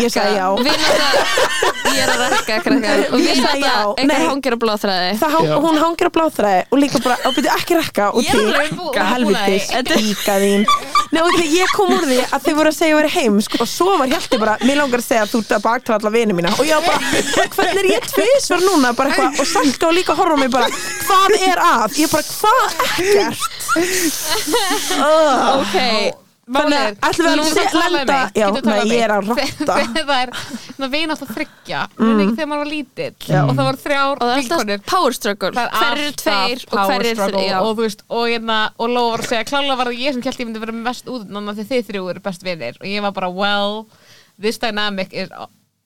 Ég sagði já. Við náttúrulega, ég er að rekka krakkar Og Ég við sagði náttúrulega, já. eitthvað Nei. hangir á blóðþræði Það hang, Já. hún hangir á bláþræði og líka bara, og byrju ekki rekka og Ég er til, alveg búin- helvitis, búin að- píka þín Nei, og því ég kom úr því að þau voru að segja að vera heim sko, og svo var Hjalti bara, mér langar að segja að þú ert að bakta alla vini mína og ég bara, hvernig er ég tvisvar núna bara eitthvað, og Salka og líka horfa á mig bara hvað er að? Ég bara, hvað ekkert? Ok Þannig að ætlum við að se- um lenda Já, nei, ég er að rotta það er svona vinast að þryggja mm. ekki þegar maður var lítill og það voru þrjár Og það er vinkonur. alltaf power struggle Það er Hver eru alltaf tveir og power hver eru struggle þrjá og þú veist, og hérna, og Lóa var að segja klála var það ég sem kjælt ég myndi vera mest út þannig að þið þrjú eru best vinir og ég var bara, well, this dynamic is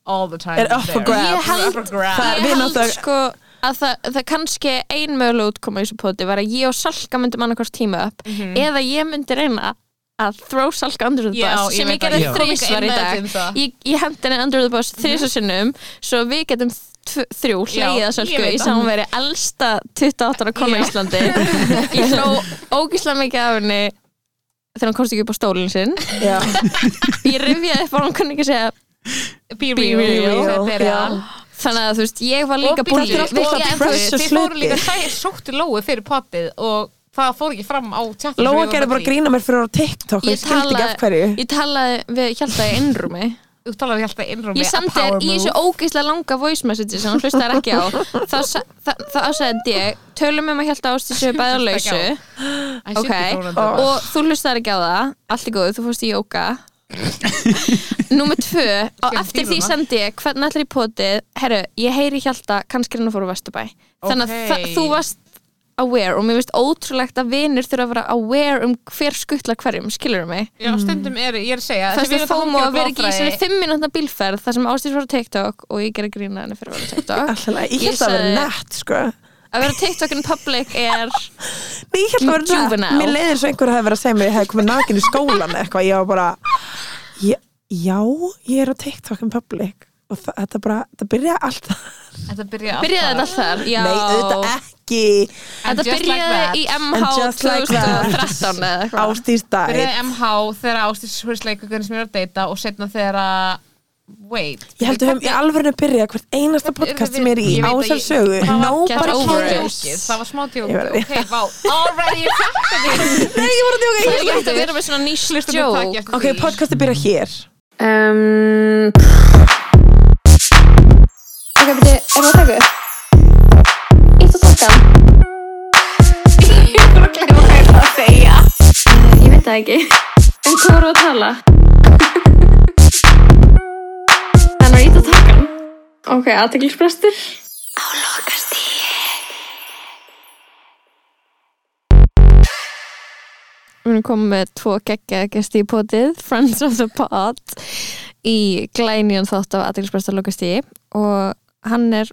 all the time Er up for there. grabs. Ég held- up for grabs. Það- Ég við held náttúrulega- sko að það, það kannski ein möguleg útkoma í þessu poti var að ég og Salka myndum annarkvort tíma upp eða ég myndi reyna að throw Salka under the Mhm. Já, bus ég sem ég veit gerði það. Ég kom þrísvar ekki í inn með dag þetta um það. Mhm. ég, ég hendi henni under the bus þrísa sinnum svo við getum tv- þrjú hlegið Já, að ég Salku veit í það. sem hún veri elsta 28 ára koma í Já. Íslandi ég hló ógíslega mikið af henni þegar hún komst ekki upp á stólinn sinn Já, ég rifjaði upp að hún kunni ekki segja Be Be real, real, þetta er já. það. þannig að þú veist, ég var líka Og bíddu, búin Þetta er alltaf svo og- en þú veist, precious Þið fóru hluti. líka, þær sóttu Lóu fyrir potið og það fór ekki fram á tjallin Lóa gerði bara grína mér fyrir á TikTok og ég skildi ekki af hverju ég talaði við Hjalta í innrúmi Þú talaði held að innrúmi ég sendi þér í þessu ógeðslega langa voice message sem hún hlustaði ekki á þá, sa- þa- þá sendi ég tölum um að Hjalta ástísu bæða Hlustaði lausu ekki ok, og þú hlustaði ekki á það allt í góðu, þú fórst í jóka Númer tvö og Skellt eftir í því núna. sendi ég hvernig allir í potið, herru, ég heyri Hjalta kannski hann að fóru Vesturbæ þannig að Ok. þa- þú varst aware og mér finnst ótrúlegt að vinur þurfa að vera aware um hver skuttla hverjum, skilur mig Já, stundum er, ég er að segja Það þessi er vinátta fómo hangir á að vera ekki í bláþræði. þessari fimm minútna bílferð þar sem Ástís var á TikTok og ég gerði grína henni fyrir að vera á TikTok Alltaf, ég held að vera sagði- nett, sko Að vera á TikTok in public Nei, er ég held að vera Juvenile. Mér leiðir eins og einhver hefði verið að segja mér að ég hefði komið nakin í skólan eða eitthvað, ég var bara ég, já, ég er á TikTok in public og það, þetta bara, þetta byrjaði allt Þetta byrjaði Byrjaði þetta þar? Já Nei, auðvitað ekki Þetta And just like byrjaði that. í MH And just like that. 2013 eða eitthvað ástýrstæð Byrjaði MH þegar Ástís Spursleikugun sem ég er að deyta og setna þegar að Wait Ég held að höfum í alvörinu að byrja hvert einasta podcast sem ég er í Ég á veit að þessar ég- sögu það var- Get Nobody over it. cares Jókið, Það var smá Ég tjókið, var- ok, vá Already ég fætti því Nei, ég voru að djóka, ég voru Það er að líkt að djóka vera með svona nýst Hlustaðu takk joke eftir Ok, því. podcasti Mm. byrja hér Um, ok, beti, er það takku? Ítt og takka Ég er bara að glemma hvað ég ætla að segja Ég veit það ekki En hvað voru að tala? Þannig var ítt og takka Ok, aðteklisbrestur Á lokast í Við erum komið með tvo geggja gesti í potið Friends of the Pod í glænjón þátt af aðeinsbæsta lokastíði og hann er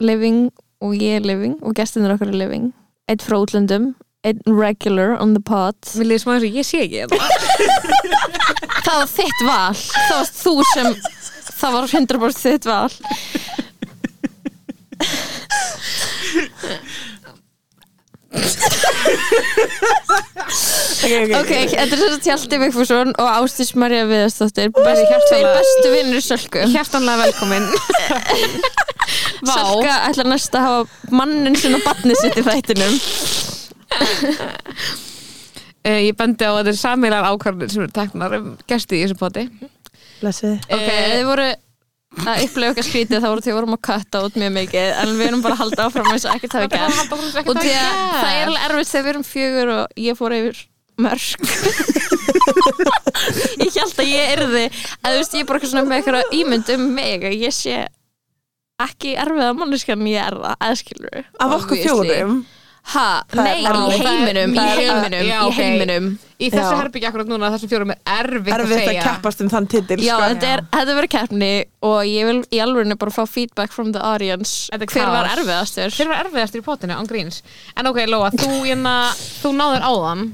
living og ég er living og gestinir okkar er living Eitt frá útlöndum, einn regular on the pod Mér leiði smá eins og ég sé ekki hérna. þetta Það var þitt val Það varst þú sem Það var 100% þitt val Ok, ok, Ok, þetta er þess að Tjaldi Vigfússon og Ástís Marja Viðarsdóttir Best, Tveir bestu vinnur Sölku Hjartanlega velkomin Vá. Sölka ætlar næst að hafa mannin sinn og barnið sitt í þættinum Eh, Ég bendi á að þetta er sameilar ákvarðin sem eru teknar um gesti í þessu poti Blessuð. Ok, Eh, þið voru að upplega okkar skrítið þá voru því vorum að katta út mjög mikið en við erum bara að halda áfram eins og ekkert hafi Það gert halda okkur sem og ekkert því að hafi það er gerst. alveg erfitt þegar við erum fjögur og ég fór yfir mörg ég held að ég erði að þú veist ég er bara eitthvað svona með eitthvað ímynd um mig að ég sé ekki erfiða manneskan ég er það, aðskilur Af okkur fjórum ha, Það er nei, í erfitt. heiminum í Það er- heiminum, Já, í ok. heiminum Í þessu Já. herbyggja akkurat núna þessum fjórum er erfitt, Erfitt að segja keppast um þann titil Já, sko. þetta, er, þetta verður keppni og ég vil í alvörinu bara fá feedback from the audience Þetta er hver var um kaos. erfiðastur Hver var erfiðastur í potinu, án gríns? En ok, Lóa, þú, hérna, þú náður áðan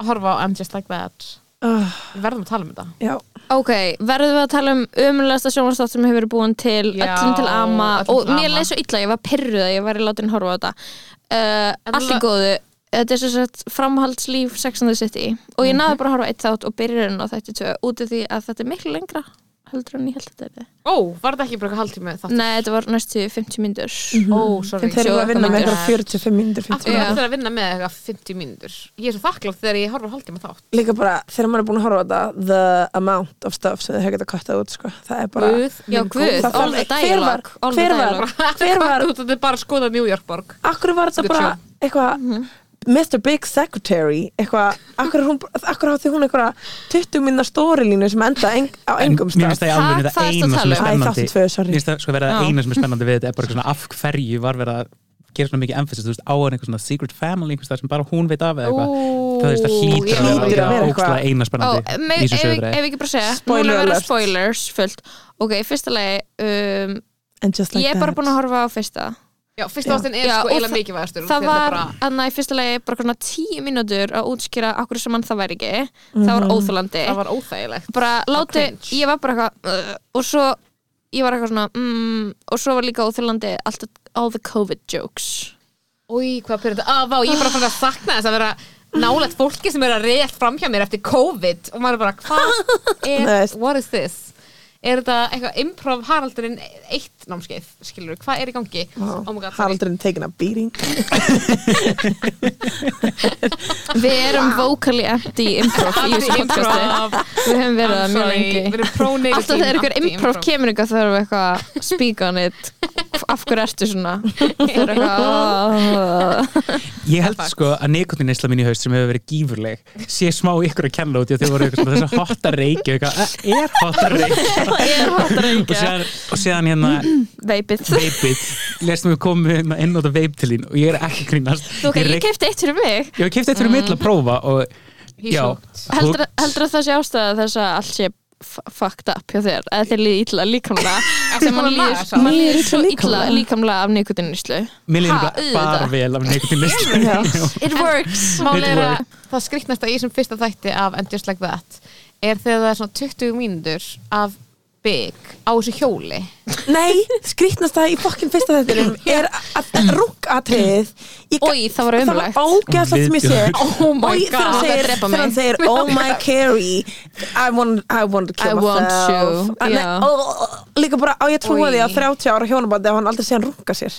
að horfa á I'm Just Like That Ah, Við verðum að tala um þetta Já, Ok, verðum við að tala um umlæsta sjónvarstátt sem hefur verið búin til Já, öllum til ama öllum til og mér ama. leið svo illa, ég var pyrruð að ég var í látin horfa á þetta uh, Allt í það- góðu Þetta er svo sett framhaldslíf Mhm. Sex and the City og ég náði bara að horfa á eitt þátt og byrjurinn á þetta tvö út af því að þetta er miklu lengra heldur en ég held að þetta er þið Ó, var þetta ekki bara eitthvað hálftíma þátt? Nei, þetta var næstu 50 mínútur Mhm. Ó, sorry En þeir eru Sjóða að vinna með myndir. eitthvað 45 mínútur 50 Af hverju oh Já. ættu þeir að vinna með eitthvað 50 mínútur? Ég er svo þakklátt þegar ég horfa hálftíma þátt Líka bara, þegar maður er búin að horfa á þetta The amount of stuff sem þeir hefur getað kattað út sko. Það er bara Guð, Já, minn guð, góður. Mm, Það all the þarf- hver var- dialogue all the hver var- dialogue. Hver var- Hvað, Þetta er bara að skoða New York borg Akkur var þetta Good bara eitthvað Mr. Big Secretary eitthvað, akkur, er hún, akkur hátti hún eitthvað 20 minna stórilínu sem enda eng, á En engum stað Mér finnst það í Ha, alveg hvað það ertu að eina sem tala Æ, um? er spennandi þáttu tvö, sorry Mér finnst það sko vera það Já. eina sem er spennandi við þetta er bara svona af hverju var verið að gera svona mikið emphasis, þú veist, á hann einhver svona secret family einhvers það sem bara hún veit af eða eitthvað það veist, það já. hlýtur að Hlýtur vera að vera alveg eitthvað. ógstlega eina Ó, spennandi me- í ef þessu sögur ef ekki bara segja Spoiler Núna verða alert. spoilers fullt Ok, í fyrsta lagi um, And just like Ég er that. bara búin að horfa á fyrsta Já, fyrsta ástin er Já, sko og eila það- mikilvægastur Það var að í fyrsta lagi bara svona tíu mínútur að útskýra akkur sem hann það væri ekki Það var óþólandi Það var óþægilegt bara láti, cringe. ég var bara eitthvað uh, og svo, ég var eitthvað svona mm, og svo var líka óþjólandi alltaf all the COVID jokes Új, hvað pyrir þetta? Á, vá, ég er bara fann að sakna þess að vera nálægt fólki sem er að rétt framhjá mér eftir COVID og maður er bara, hvað er, Nei. what is this? Er þetta eitthvað improv Haraldurinn eitt námskeið, skilur við, hvað er í gangi? Wow. Oh my God, sorry. Haraldurinn taken a beating við erum vocally empty improv í þessu podcasti Improv. við höfum verið I'm það mjög sorry, lengi Við erum pro-negative alltaf þegar einhver anti- improv kemur eitthvað þá erum við eitthvað að speak on it af hverju ertu svona það er eitthvað Ég held sko að neikotin neysla mín í haust sem hefur verið gífurleg sé smá ykkur að kenna út í að þau voru eitthvað svona þessi hotta reiki eitthvað, "Æ, er hotta reiki það er hóttar og reykja séðan, og séðan hérna veipið veipið, lestum við komum við hérna inn á þetta veip til þín og ég er ekki að grínast ok, ég reik- kefti eitt fyrir mig ég kefti eftir um mill að prófa og He's já, hooked. Mm. heldur, heldur að það sé ástæða þess að allt sé f- fucked up hjá þér eða þér líði illa líkamlega sem mann búin að laga líður það? mann líður Líður svo illa illa líkamlega? líkamlega af nikotinnislu mér Ha, líður auðvitað. bara vel af neikotin neysla Já. it works Málið er Network. að það skrýtnasta í sem fyrsta þætti af And Just Like That er þegar það er svona 20 mínútur af bygg á þessu hjóli Nei, skrýtnast það í fokkin fyrsta þettinum er að rúkatriðið Oj, það var Það ömurlegt. var ógæðslega sem ég sé Oh my Oj, þegar hann God. segir, drepa þegar hann mig. segir Oh my Carrie I want, I want to I kill want myself you, Ah, nei, já. ó, ó, ó, Líka bara, á ég trúa Oj. því að 30 ára hjónabandi ef hann aldrei sé hann rúka sér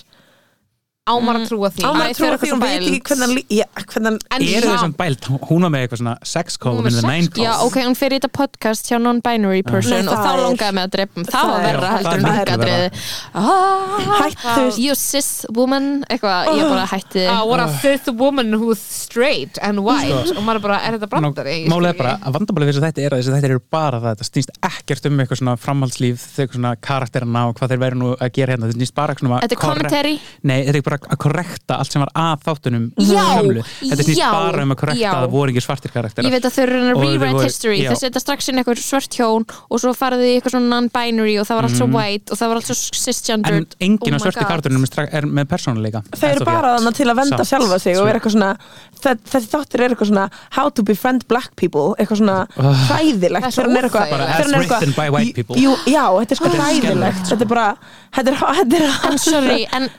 ámar Mhm. að trúa því Á Æ, maður þau trúa því eru eitthvað hún veit bælt. ekki hvernig hann lí- já, hvernig hann En er samt- það sem bælt, hún var með eitthvað svona sex call Hún in var með the sex nine call. já call ok, hún fer í þetta podcast hjá non-binary person Nei, og það þá er- langaði mig að drepa um það það er- var verra Já, heldur en það er miklu rúkadriði Hættu- you cis woman eitthvað, ég bara hætti I want uh. a fifth woman who's straight and Sko. white og maður bara, er þetta Ná, brandari? Ég skil Málið er ekki. bara að vandabálið við þess að þetta er að þess að þetta eru bara það þetta snýst ekkert um eitthvað svona framhaldslíf þegar svona karakterina og hvað þeir væri nú að gera hérna þetta snýst bara svona um að Þetta er korrek- commentary? Nei, þetta er bara að korrekta allt sem var að þáttunum Já, gömlu. Þetta snýst já, bara um að korrekta já. að það voru ekki svartir karakterar Ég veit að þau eru að Og þau rewrite voru- history já. þau setja strax inn eitthvað svört hjón og svo farið þau í eitthvað svona non-binary og það var allt svo white og það var allt svo Mhm. En cisgendered enginn Oh af my svörtu God. karakterunum er stra- er með persónuleika Þau eru bara þannig til að venda Samt. sjálfa sig og er eitthvað svona þe- þessi þáttir er eitthvað svona how to befriend black people eitthvað svona hræðilegt Það er svo þegar hann er eitthvað- óþægilegt. þegar hann er As written by white eitthvað people. Jú, já, þetta er sko Þetta er hræðilegt þetta er bara þetta er, þetta er, En sorry, en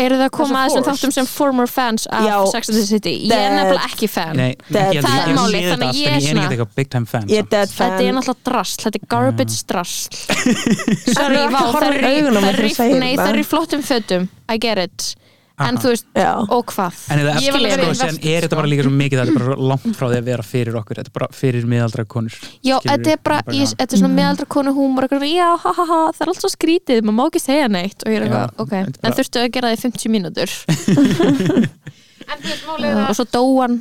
eru það að koma að Þessu þessum forced. þáttum sem former fans af Já. Sex and the City? Ég er Dead. nefnilega ekki fan Nei, Það ekki heldur, er ég málið, sé þetta þannig allt, ég er en ég er svona- ekkert eitthvað big time fan sko. ég er samt. dead fan Þetta er náttúrulega drasl, þetta er garbage drasl Sorry, Það er vá, ekki að það horfa er í augun á mér það er þegar þú í- segir nei, þetta. það er í flottum fötum I get it, en Aha. þú veist Já. og hvað? En það Ég er var alveg eftir sko, verið síðan invested, er þetta bara sko. líka svo mikið að þetta er bara svo langt frá því að vera fyrir okkur, þetta er bara fyrir miðaldra konur. Já, Skilurðu? þetta er bara, ég, þetta er svona meðaldra konu húmor eitthvað, svona, já, ha, ha, ha, það er allt svo skrítið maður má ekki segja neitt og ég er Já, eitthvað, ok, þetta er bara- en þurftu að gera það í 50 mínútur En þú veist, málið er og að svo dóan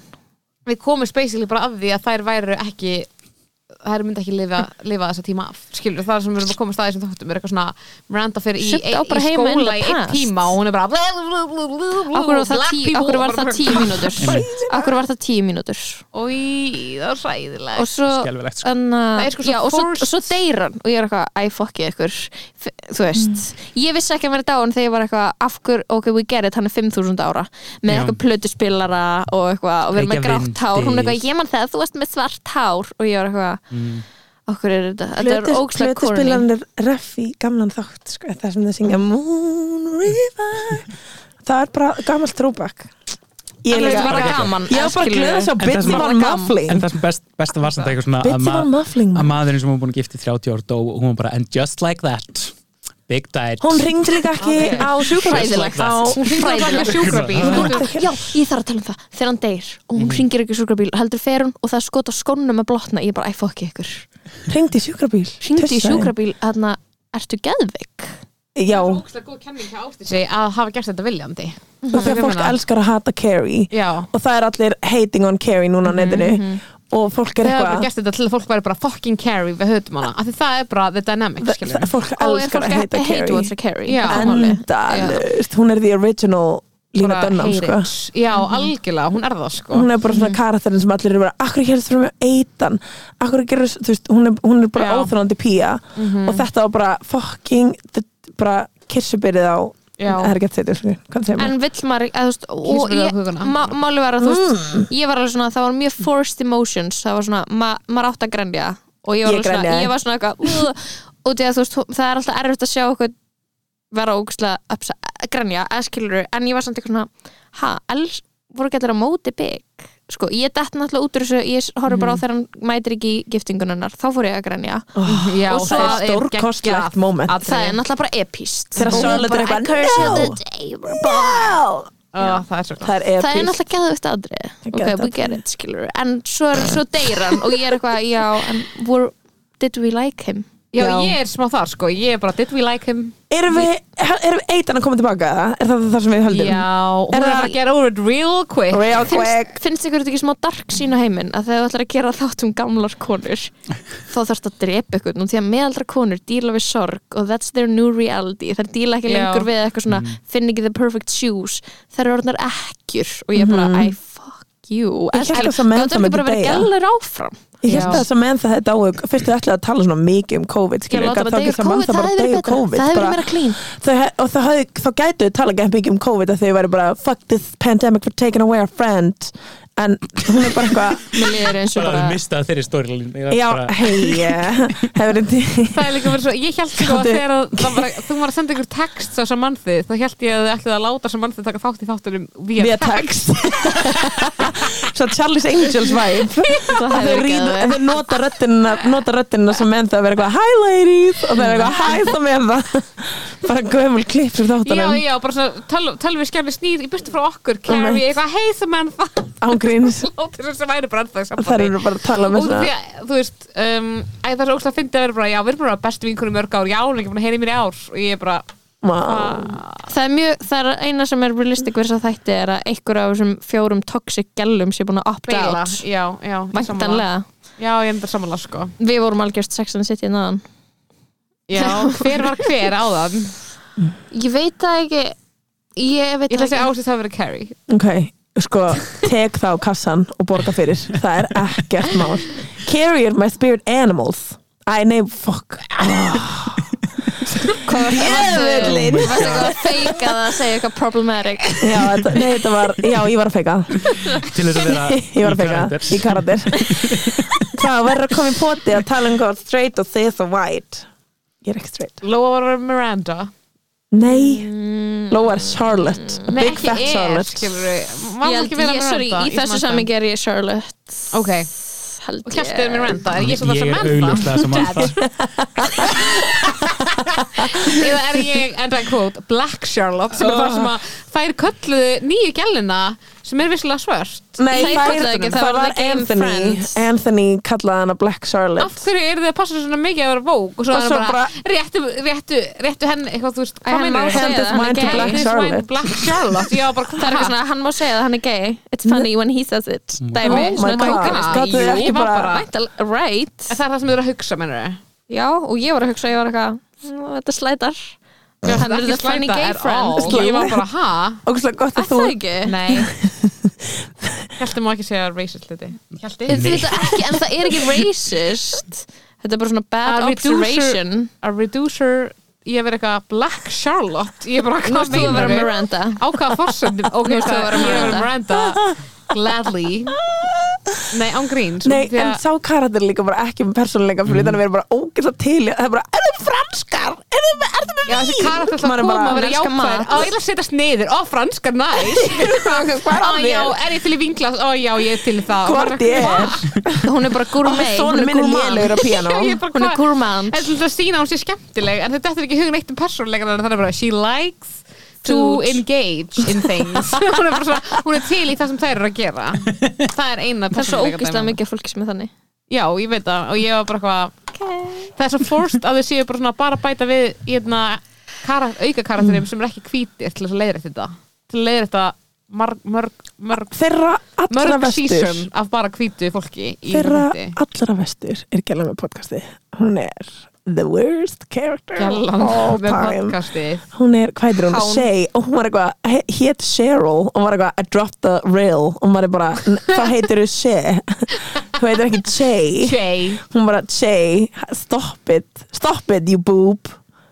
við komum basically bara af því að þær væru ekki þær myndi ekki lifa, lifa þessa tíma af skilur, það er sem við erum að komast að þessum þáttum er eitthvað svona, Miranda fyrir í, Sumt í, á bara í heima in skóla the í einn past. tíma og hún er bara Akkur akkur var það, tí, akkur var það 10 mínútur akkur var það 10 mínútur Í, það er sæðilegt og svo Skelfilegt, sko. anna, Það er sko svo já, og, svo, forced. og svo deyr hann og ég er eitthvað, æ, fokkið ykkur F- þú veist, Mm. ég vissi ekki að vera dáin þegar ég var eitthvað, af hver, ok, we get it hann er 5000 ára, með Já. eitthvað plötuspilara og eitthvað, og við erum með Reykja grátt hár hún er vindil. eitthvað, ég man það, þú varst með svart hár og ég var eitthvað, Mm. okkur er þetta þetta er ógslag korni Plötuspilanir Reffi, gamlan þátt sko, það sem þau syngja Moon River Það er bara gamalt throwback Ég Þú er veist, líka bara gaman Ég var bara að skilurðu. gleða svo En það Bitty sem- var En muffling það sem best, besta var samt eitthvað svona að, Bitty var ma muffling að maður. maðurinn sem hún búin að gifta í 30 ára dó og hún var bara, and just like that Big diet Hún ringdi líka ekki Ok. á sjúkrabíl Hræðilegt. á Hún hringdi á Það Hræðilegt. er sjúkrabíl Já, ég þarf að tala um það Þegar hann deyr og Mm. hún hringir ekki í sjúkrabíl heldur fer hún og það er skot á skónum að blotna ég er bara, æ, fokki ykkur Ringdi í sjúkrabíl Hringdi í Tussaði. sjúkrabíl, þarna, ertu geðveik? Já, Ógstlega góð kenning hjá Ástísi að hafa gert þetta viljandi og þegar fólk Ég meina- elskar að hata Carrie Já og það er allir hating on Carrie Mhm, núna á netinu og fólk er Við hefum bara eitthvað gert þetta til að fólk væri bara fucking carry við höfðum hana, af því það er bara the dynamic skilur það- fólk Og er elskar að fólk að hata hate Carrie what's a carry Já. endalust, hún er the original Lína Bara Dunham hate sko it. Já, algjörlega, hún er það sko hún er bara svona karakterin sem allir eru bara akkur gerðist fyrir mig eitan akkur gerðist, þú veist, hún er, hún er bara Já. óþrjóðandi pía og þetta var bara fucking the- bara kissubyrðið á Já. það er ekki að segja þetta, hvað segir maður En vill maður, eða þú veist og Kynsbyrði á ég- huguna. má- Máli var að þú veist Ég var alveg svona, það var mjög forced emotions Það var svona, ma maður átt að grenja Og ég var Ég alveg svona, grenjaði. ég var svona eitthvað "Ugh." Og því að þú veist, þú- það er alltaf erfitt að sjá okkur vera ógustlega að grenja, eða skilur En ég var samt eitthvað svona, ha, els voru ekki allir að móti bygg Sko, ég dætt náttúrulega út úr þessu Ég horfði bara á þegar hann mætir ekki í giftingununnar Þá fór ég að grenja Já, Og það það er stórkostlegt moment Það er náttúrulega bara epíst Þegar Og Charlotte er bara, eitthvað, "I curse you "No." the day we're Wow! náttúrulega Það er svo það er það er epic náttúrulega geðvægt aðrið ok, Geðveikt we get it, skilur en svo, er- svo deyr hann og ég er eitthvað já, en were, did we like him? Já, Já. ég er smá þar sko, ég er bara did we like him erum við, erum við eitan að koma tilbaka eða? er það það sem við höldum Já, hún Er er það- að fara að get over it real quick real quick finnst, finnst ykkur þetta ekki smá dark sín á heiminn að þegar þú ætlar að gera þátt um gamlar konur þá þarfst að drepa ykkur og því að meðaldra konur díla við sorg og that's their new reality, þær díla ekki Já. lengur við eitthvað svona, Mm. finn ekki the perfect shoes þær eru orðnar ekkjur og ég er bara, Mm-hmm. mm. I fuck you Ég hélt En- að það menn það gátu ekki bara myndi verið deyja. gælur áfram Ég held Já. að þess að menn það þetta áhug fyrst þau ætlaði að tala svona mikið um COVID Ég skilur, láta gat bara deyja úr ekki það mann COVID, það bara það hefði verið deyja úr betra. COVID Það hefði verið bara- meira clean. Þau he- og það hefði, þá gætu þau tala ekki mikið um COVID að þau væri bara fuck this pandemic for taking away our friend en hún er bara eitthvað Mér líður eins og bara bara að mista þeirri stóri já, hei, hefur þetta Það er líka verið svo, ég held sko að Gáttu- þegar að það var, þú var að senda ykkur text á saman þið, þá held ég að þið ætlið að láta saman þið taka þátt í þáttunum via, via text svo Charlie's Angels vibe að það þau, hefði verið ríð, geðveikt. þau nota röddina nota röddina sem menn það að vera eitthvað hi ladies og það er eitthvað hi það með það bara gömul klipp sem Já, þáttanum já, bara svona, töl- tölvi skjærni snýr í byrtu frá okkur, Carrie, eitthvað hey Samantha, ángríns láta þessu sem væri bara ennþá í Það sambandi eru bara að tala um með Út af því að, þú veist, um, æ, það er ógst að fyndi að vera bara, já, við erum bara bestu vinkunum mörg ár, já, hún er ekki búin að heyra í mér í ár og ég er bara, "Ah, Vá. Það er mjög, það er eina sem er realistic við þess að þætti er að einhver af þessum fjórum toxic gælum sé búin að opta beila, out já, já, ég sammála. Væntanlega Já, ég er enda samanlega, sko Við vorum algjörst sex and the city náðan Já, hver var hver á það? Ég veit það ekki Ég veit Ég ætla það að segja ekki ásins að vera Carrie Ok, sko, tek þá kassan og borga fyrir, það er ekkert mál Carrie are my spirit animals Æ, nei, fuck Hvað Djöfullinn. Ég veit ekki að feika það að segja eitthvað problematic Já, þetta, nei, þetta var, já, ég var að feika til þess að vera Ég var að feika, karakter. í karatir Hvað, verður að koma í poti að tala um hvað straight og cis og white Ég er ekki straight Lóa var að vera Miranda Nei, Lóa er Charlotte a Nei, Big fat ekki er, Charlotte skilur við Má Ég ekki vera ég- Miranda sorry, í þessu smástund? samingi er ég Charlotte Ok, Held og Kjarti er Miranda, er ég svo það ég sem er augljóslega sem að Miranda? Eða er ég, enda quote, Black Charlotte sem er það sem að þær kölluðu nýju gælina sem er visslega svört Nei, Nei, þær- kallaði ekki, það það var var the game Anthony friends. Anthony kallaði hana Black Charlotte Af hverju eru þið að passa svona mikið að vera vók og svo Og er svo það bara, réttu, réttu, réttu henni eitthvað, þú veist, Æ, hann hvað má meinar segja Hand það, is hann er mine to gay. Black Black Charlotte. Charlotte Black Charlotte, já, bara Það er eitthvað svona, hann má segja það, hann er gay It's funny when he says it Dæmi, Oh my svona God. tókast. Gátu þið Jú, ekki ég var bara- Væntal- Right En það er það sem þið eru að hugsa, mennur þið? Já, og ég var að hugsa, ég var eitthvað "Nú, Þetta slætar Hann er the funny gay all. friend Ég var bara, ha? Ógustlega gott Er að þú Það ekki Nei Hjalti má ekki segja racist hluti Hjalti Þetta er ekki, en það er ekki racist Þetta er bara svona bad A reducer- observation A reducer Ég verið eitthvað Black Charlotte Ég er bara, Nú ertu hvað að vera meinar Miranda Á hvaða forsöndum Ok, Nú ert þú að það vera ég er að vera Miranda. Miranda Gladly Nei, án grín Nei, en sá Mm. karakter er líka bara ekki með persónuleika fyrir þannig að við erum bara ógæsla til í- það er bara, er þið franskar? Er þið með, er þið með Já, þessi karakter alltaf Maður er að koma bara, að vera hann elskar jákvæður mat. Á, ég ætla að setjast niður, á franskar næs Hvað er Á, að já, þér? er ég til í vinglas, á, já, ég er til í það Hvort ég er Hún er bara gourmet, hún Sónu er minn er gourmand lélegur á piano Ég er bara, Hún er hvað- gourmand Þetta er til að sína að hún sé skemmtileg En þetta er ekki hugun eitt um persónulegan Þannig bara, she likes to Dudes. engage in things hún, er bara svona, hún er til í það sem þær eru að gera Það er eina Það er svo persónuleika ógislega dæmi. mikið af fólki sem er þannig Já, ég veit það Og ég var bara hvað Það er svo forced að þau séu bara svona bara að bæta við í hérna kara, auka karakterum sem er ekki hvítir til þess að leiðrætt þetta til að leiðrætt þetta mörg, mörg, mörg, Þeirra allra mörg vestur season af bara hvítu fólki í Þeirra myndi. allra vestur er gæla með podcasti Hún er the worst character Gjallan of all með time podcastið Hún er, hvað heitir hún, Hán. Shay og hún var eitthvað, he- hét Cheryl og hún var eitthvað, I dropped the rail og maður er bara, "N- hvað heitir þú Shay? Hún heitir ekki Shay Jay Hún bara, Shay, stop it Stop it, you boob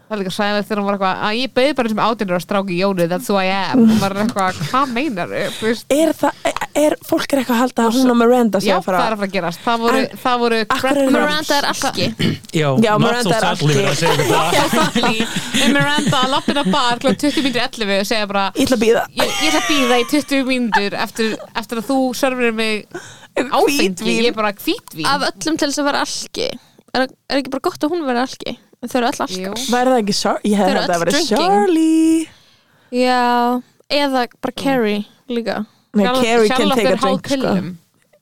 Það er líka sæðilegt þegar hún var eitthvað að ég beði bara sem átjöndur að stráki Jónu that's who I am og maður er eitthvað hvað meinar þau Er það, e, er, fólk er eitthvað að halda að hún og Miranda sé Já, að það er að fara fara að gerast það voru, En- það voru Akkur er hún- Miranda er alki Já, Já, not Miranda so er sadly alki. verið að segja þetta Já, sadly. með Miranda að lappina bar kl. 20.11 og segja bara Ég ætla að býða ég, ég ætla að býða í 20 mínútur eftir, eftir að þú serverir mig áfengi, Hvítvín. ég er bara hvítvín Af öllum til þess að vera alki Er, er ekki bara gott að hún vera alki? Þau eru öll alki Jú. Væri það ekki Charlie? Ég hefði Þau eru þetta að öll vera drinking. Charlie Já, eða bara Mm. Carrie líka Nei, Charlotte- Carrie can Charlotte take a er drink sko. hápillum.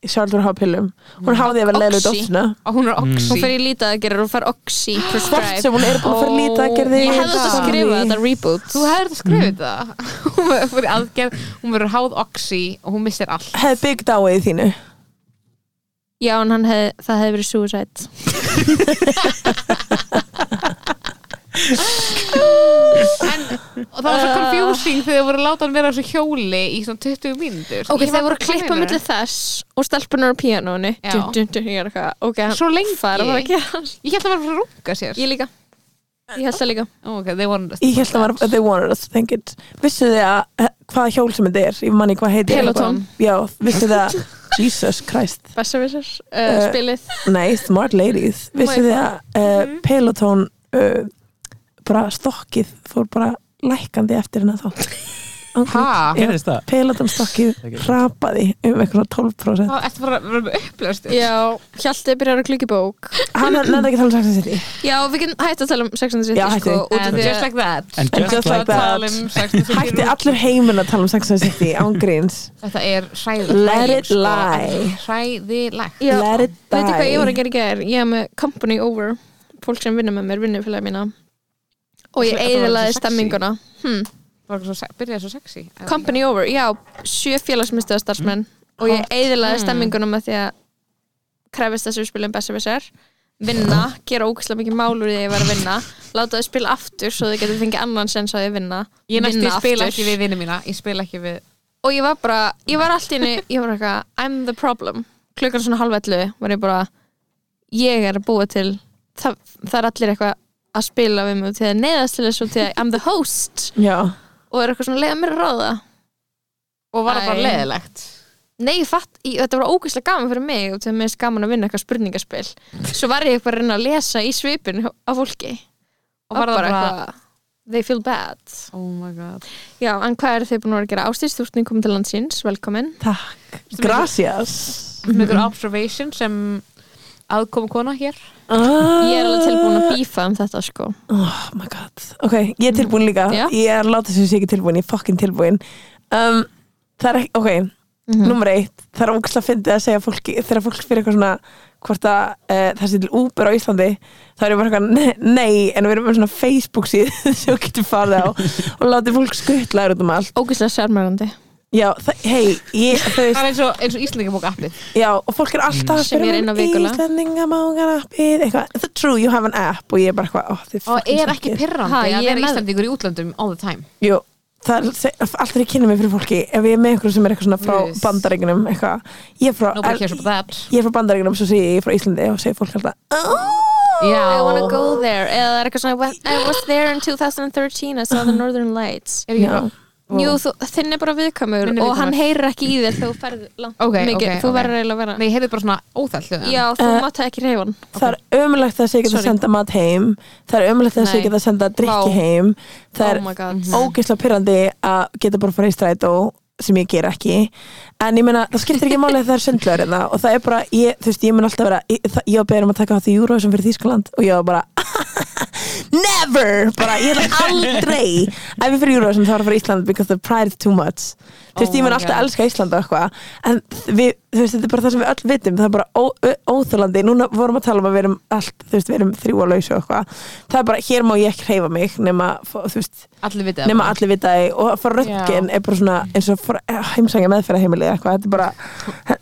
Charlotte er á pillum Hún háði að vera leilu Oxy. dóttina og hún er Hún oxy fer í lítið að gera og fær oxy Hvort prescribe sem hún er búin að fara lítið að gerði Ég hefði þetta að skrifa þetta reboot þú Mm. hefur þetta skrifið það hún verður aðgerð, hún verður háð oxy og hún missir allt Hefði byggt á eða þínu Já, en hann hef, það hefði verið suicide en og það var svo confusing þegar þau voru að láta hann vera á þessu hjóli í svona 20 mínútur Ok, þeir voru að klippa millir þess og stelpunar á píanónu Já. Dun, dun, dun, ég er eitthvað, ok, hann- Svo lengi. það er að fara að gerast. ég held að vera að runga sér Ég líka, ég held það líka Ó, ok, they wanted us to Ég held að var They wanted us to think it Vissu þið að eh, Hvaða hjól sem þetta er Ég manni hvað heitir Peloton. Já, vissu þið að Jesus Christ Besserwissers, uh, Eh, spilið Nei, smart ladies Oh Vissu þið að uh, Mhm. Peloton uh, Bara stokkið Fór bara lækandi eftir hennar þá Ha? Gerðist það? Peloton stokkið Það gerðist. hrapaði um eitthvað 12% Það ertu bara að vera með upplöðstu Já, Hjalti byrjar að klukki bók Hann nefndi ekki að tala um sexið sitt í Já, við getum hætt að tala um Sex and the City Já, sko, hættu. út af And því just að like that And just just like like that that. Tala um sex and the city Hætti rule. allur heiminn að tala um Sex and the City ángríns Þetta er Let it hræðilegt sko. lie. Hræðilegt Já, Let it die Veitir hvað ég var að gera í gær? Ég hef með Company Over Fólk sem vinnur með mér, vinnufélagi mína Og ég Þetta var ekki eiginlega sexy. stemminguna hm. Það var eitthvað svo- byrjaði svo sexy Company Over, já, sjö félagsmyndstöða Mm. starfsmenn Og ég eiginlega stemminguna með því að krefist þess að við spilum Besserwissar vinna, gera ógæslega mikið mál úr því að ég var að vinna láta þau spila aftur svo þau getur fengið annan sens á því að vinna Ég næstu vinna spila aftur. ekki við vinnu mína Ég spila ekki við og ég var bara, ég var allt í inni ég var eitthvað, I'm the problem klukkan svona halvetlu var ég bara ég er að búa til það, það er allir eitthvað að spila við mig til að neyðast til þessu til að I'm the host Já, og er eitthvað svona að leiða mér að ráða Og var það bara Æ. leðilegt nei, ég fatt, ég, þetta var ógeðslega gaman fyrir mig og til að mér er gaman að vinna eitthvað spurningaspil svo var ég eitthvað að reyna að lesa í svipin á fólki Og var það bara they feel bad Oh my god já, en hvað eru þið búin að vera að gera ástýrst þú ert komið til landsins, velkomin takk Gracias Mhm. Með ykkur observation sem aðkomu kona hér ah, ég er alveg tilbúin að bífa um þetta sko Oh my god Ok, ég er tilbúin líka Já. Ég er látið sem sé ekki tilbúin, ég er fokkin tilbúin um, Það er ekki, ok Mhm. Númer eitt, það er ógæslega fyndið að segja fólki Þegar fólk fyrir eitthvað svona Hvort að uh, það sé til Uber á Íslandi Það er ég bara eitthvað, ne- nei En við erum með svona Facebook síð Sem þú getur farið á Og látið fólk skuttla þér út um allt ógeðslega sérmærandi Já, það- hei, ég, þau veist Það er eins og, eins og Íslendingabók appið Já, og fólk er alltaf að Sem ég spyrja er inn á um vikulega. Íslandingamágan appið eitthvað, the true, you have an app og ég er bara eitthvað, oh, þið Og fucking er ekki suckið. pirrandi Ha, að ég er vera með- Íslendingur í útlöndum all the time Jú, það er alltaf þegar ég kynna mig fyrir fólki ef ég er með einhverjum sem er eitthvað svona frá Yes. yes. bandaríkunum eitthvað, ég er frá Nobody cares about that ég er frá bandaríkunum, svo sé ég frá Íslandi og segir fólk alltaf, oh I wanna Já go there eða það er eitthvað svona I was there in 2013, I saw the northern lights Er ég Já. bara Jú, þú, þinn er bara viðkvæmur Minn er og hann viðkvæmur. heyrir ekki í þér þegar þú ferð langt Ok, mikið, ok, þú ok. verður eiginlega að vera Nei, ég heyrði bara svona óþæll hljóðan. Já, þú Eh, uh, mátt ekki reyfa hann Það er ömulegt þess að ég geta Sorry. að senda mat heim Það er ömulegt þess að ég Nei. geta að senda drikki Vá. heim Það Oh my er Mhm. god. ógeðslega pyrrandi að geta bara farið í strætó sem ég ger ekki en ég meina, það skiptir ekki máli að það er sundlöður hérna og það er bara, ég, þú veist, ég mun alltaf vera ég, það, ég var beðin um að taka það því Eurovision fyrir Þýskaland og ég var bara never, bara, ég ætla aldrei ef ég fyrir Eurovision þá er það fyrir Ísland because the pride is too much þú veist, Oh ég mun my alltaf God. elska Ísland og eitthvað en við, þú veist, þetta er bara það sem við öll vitum það er bara ó- ö- óþolandi, núna vorum að tala um að við erum allt, þú veist, við erum þrjú að lausa og eitthvað, það er bara, hér má ég ekki hreyfa mig nema, þú veist, Allir vitið. nema allir vita það og að fara röntgen er bara svona eins og að fara heimsækja meðferðarheimili eða eitthvað, þetta er bara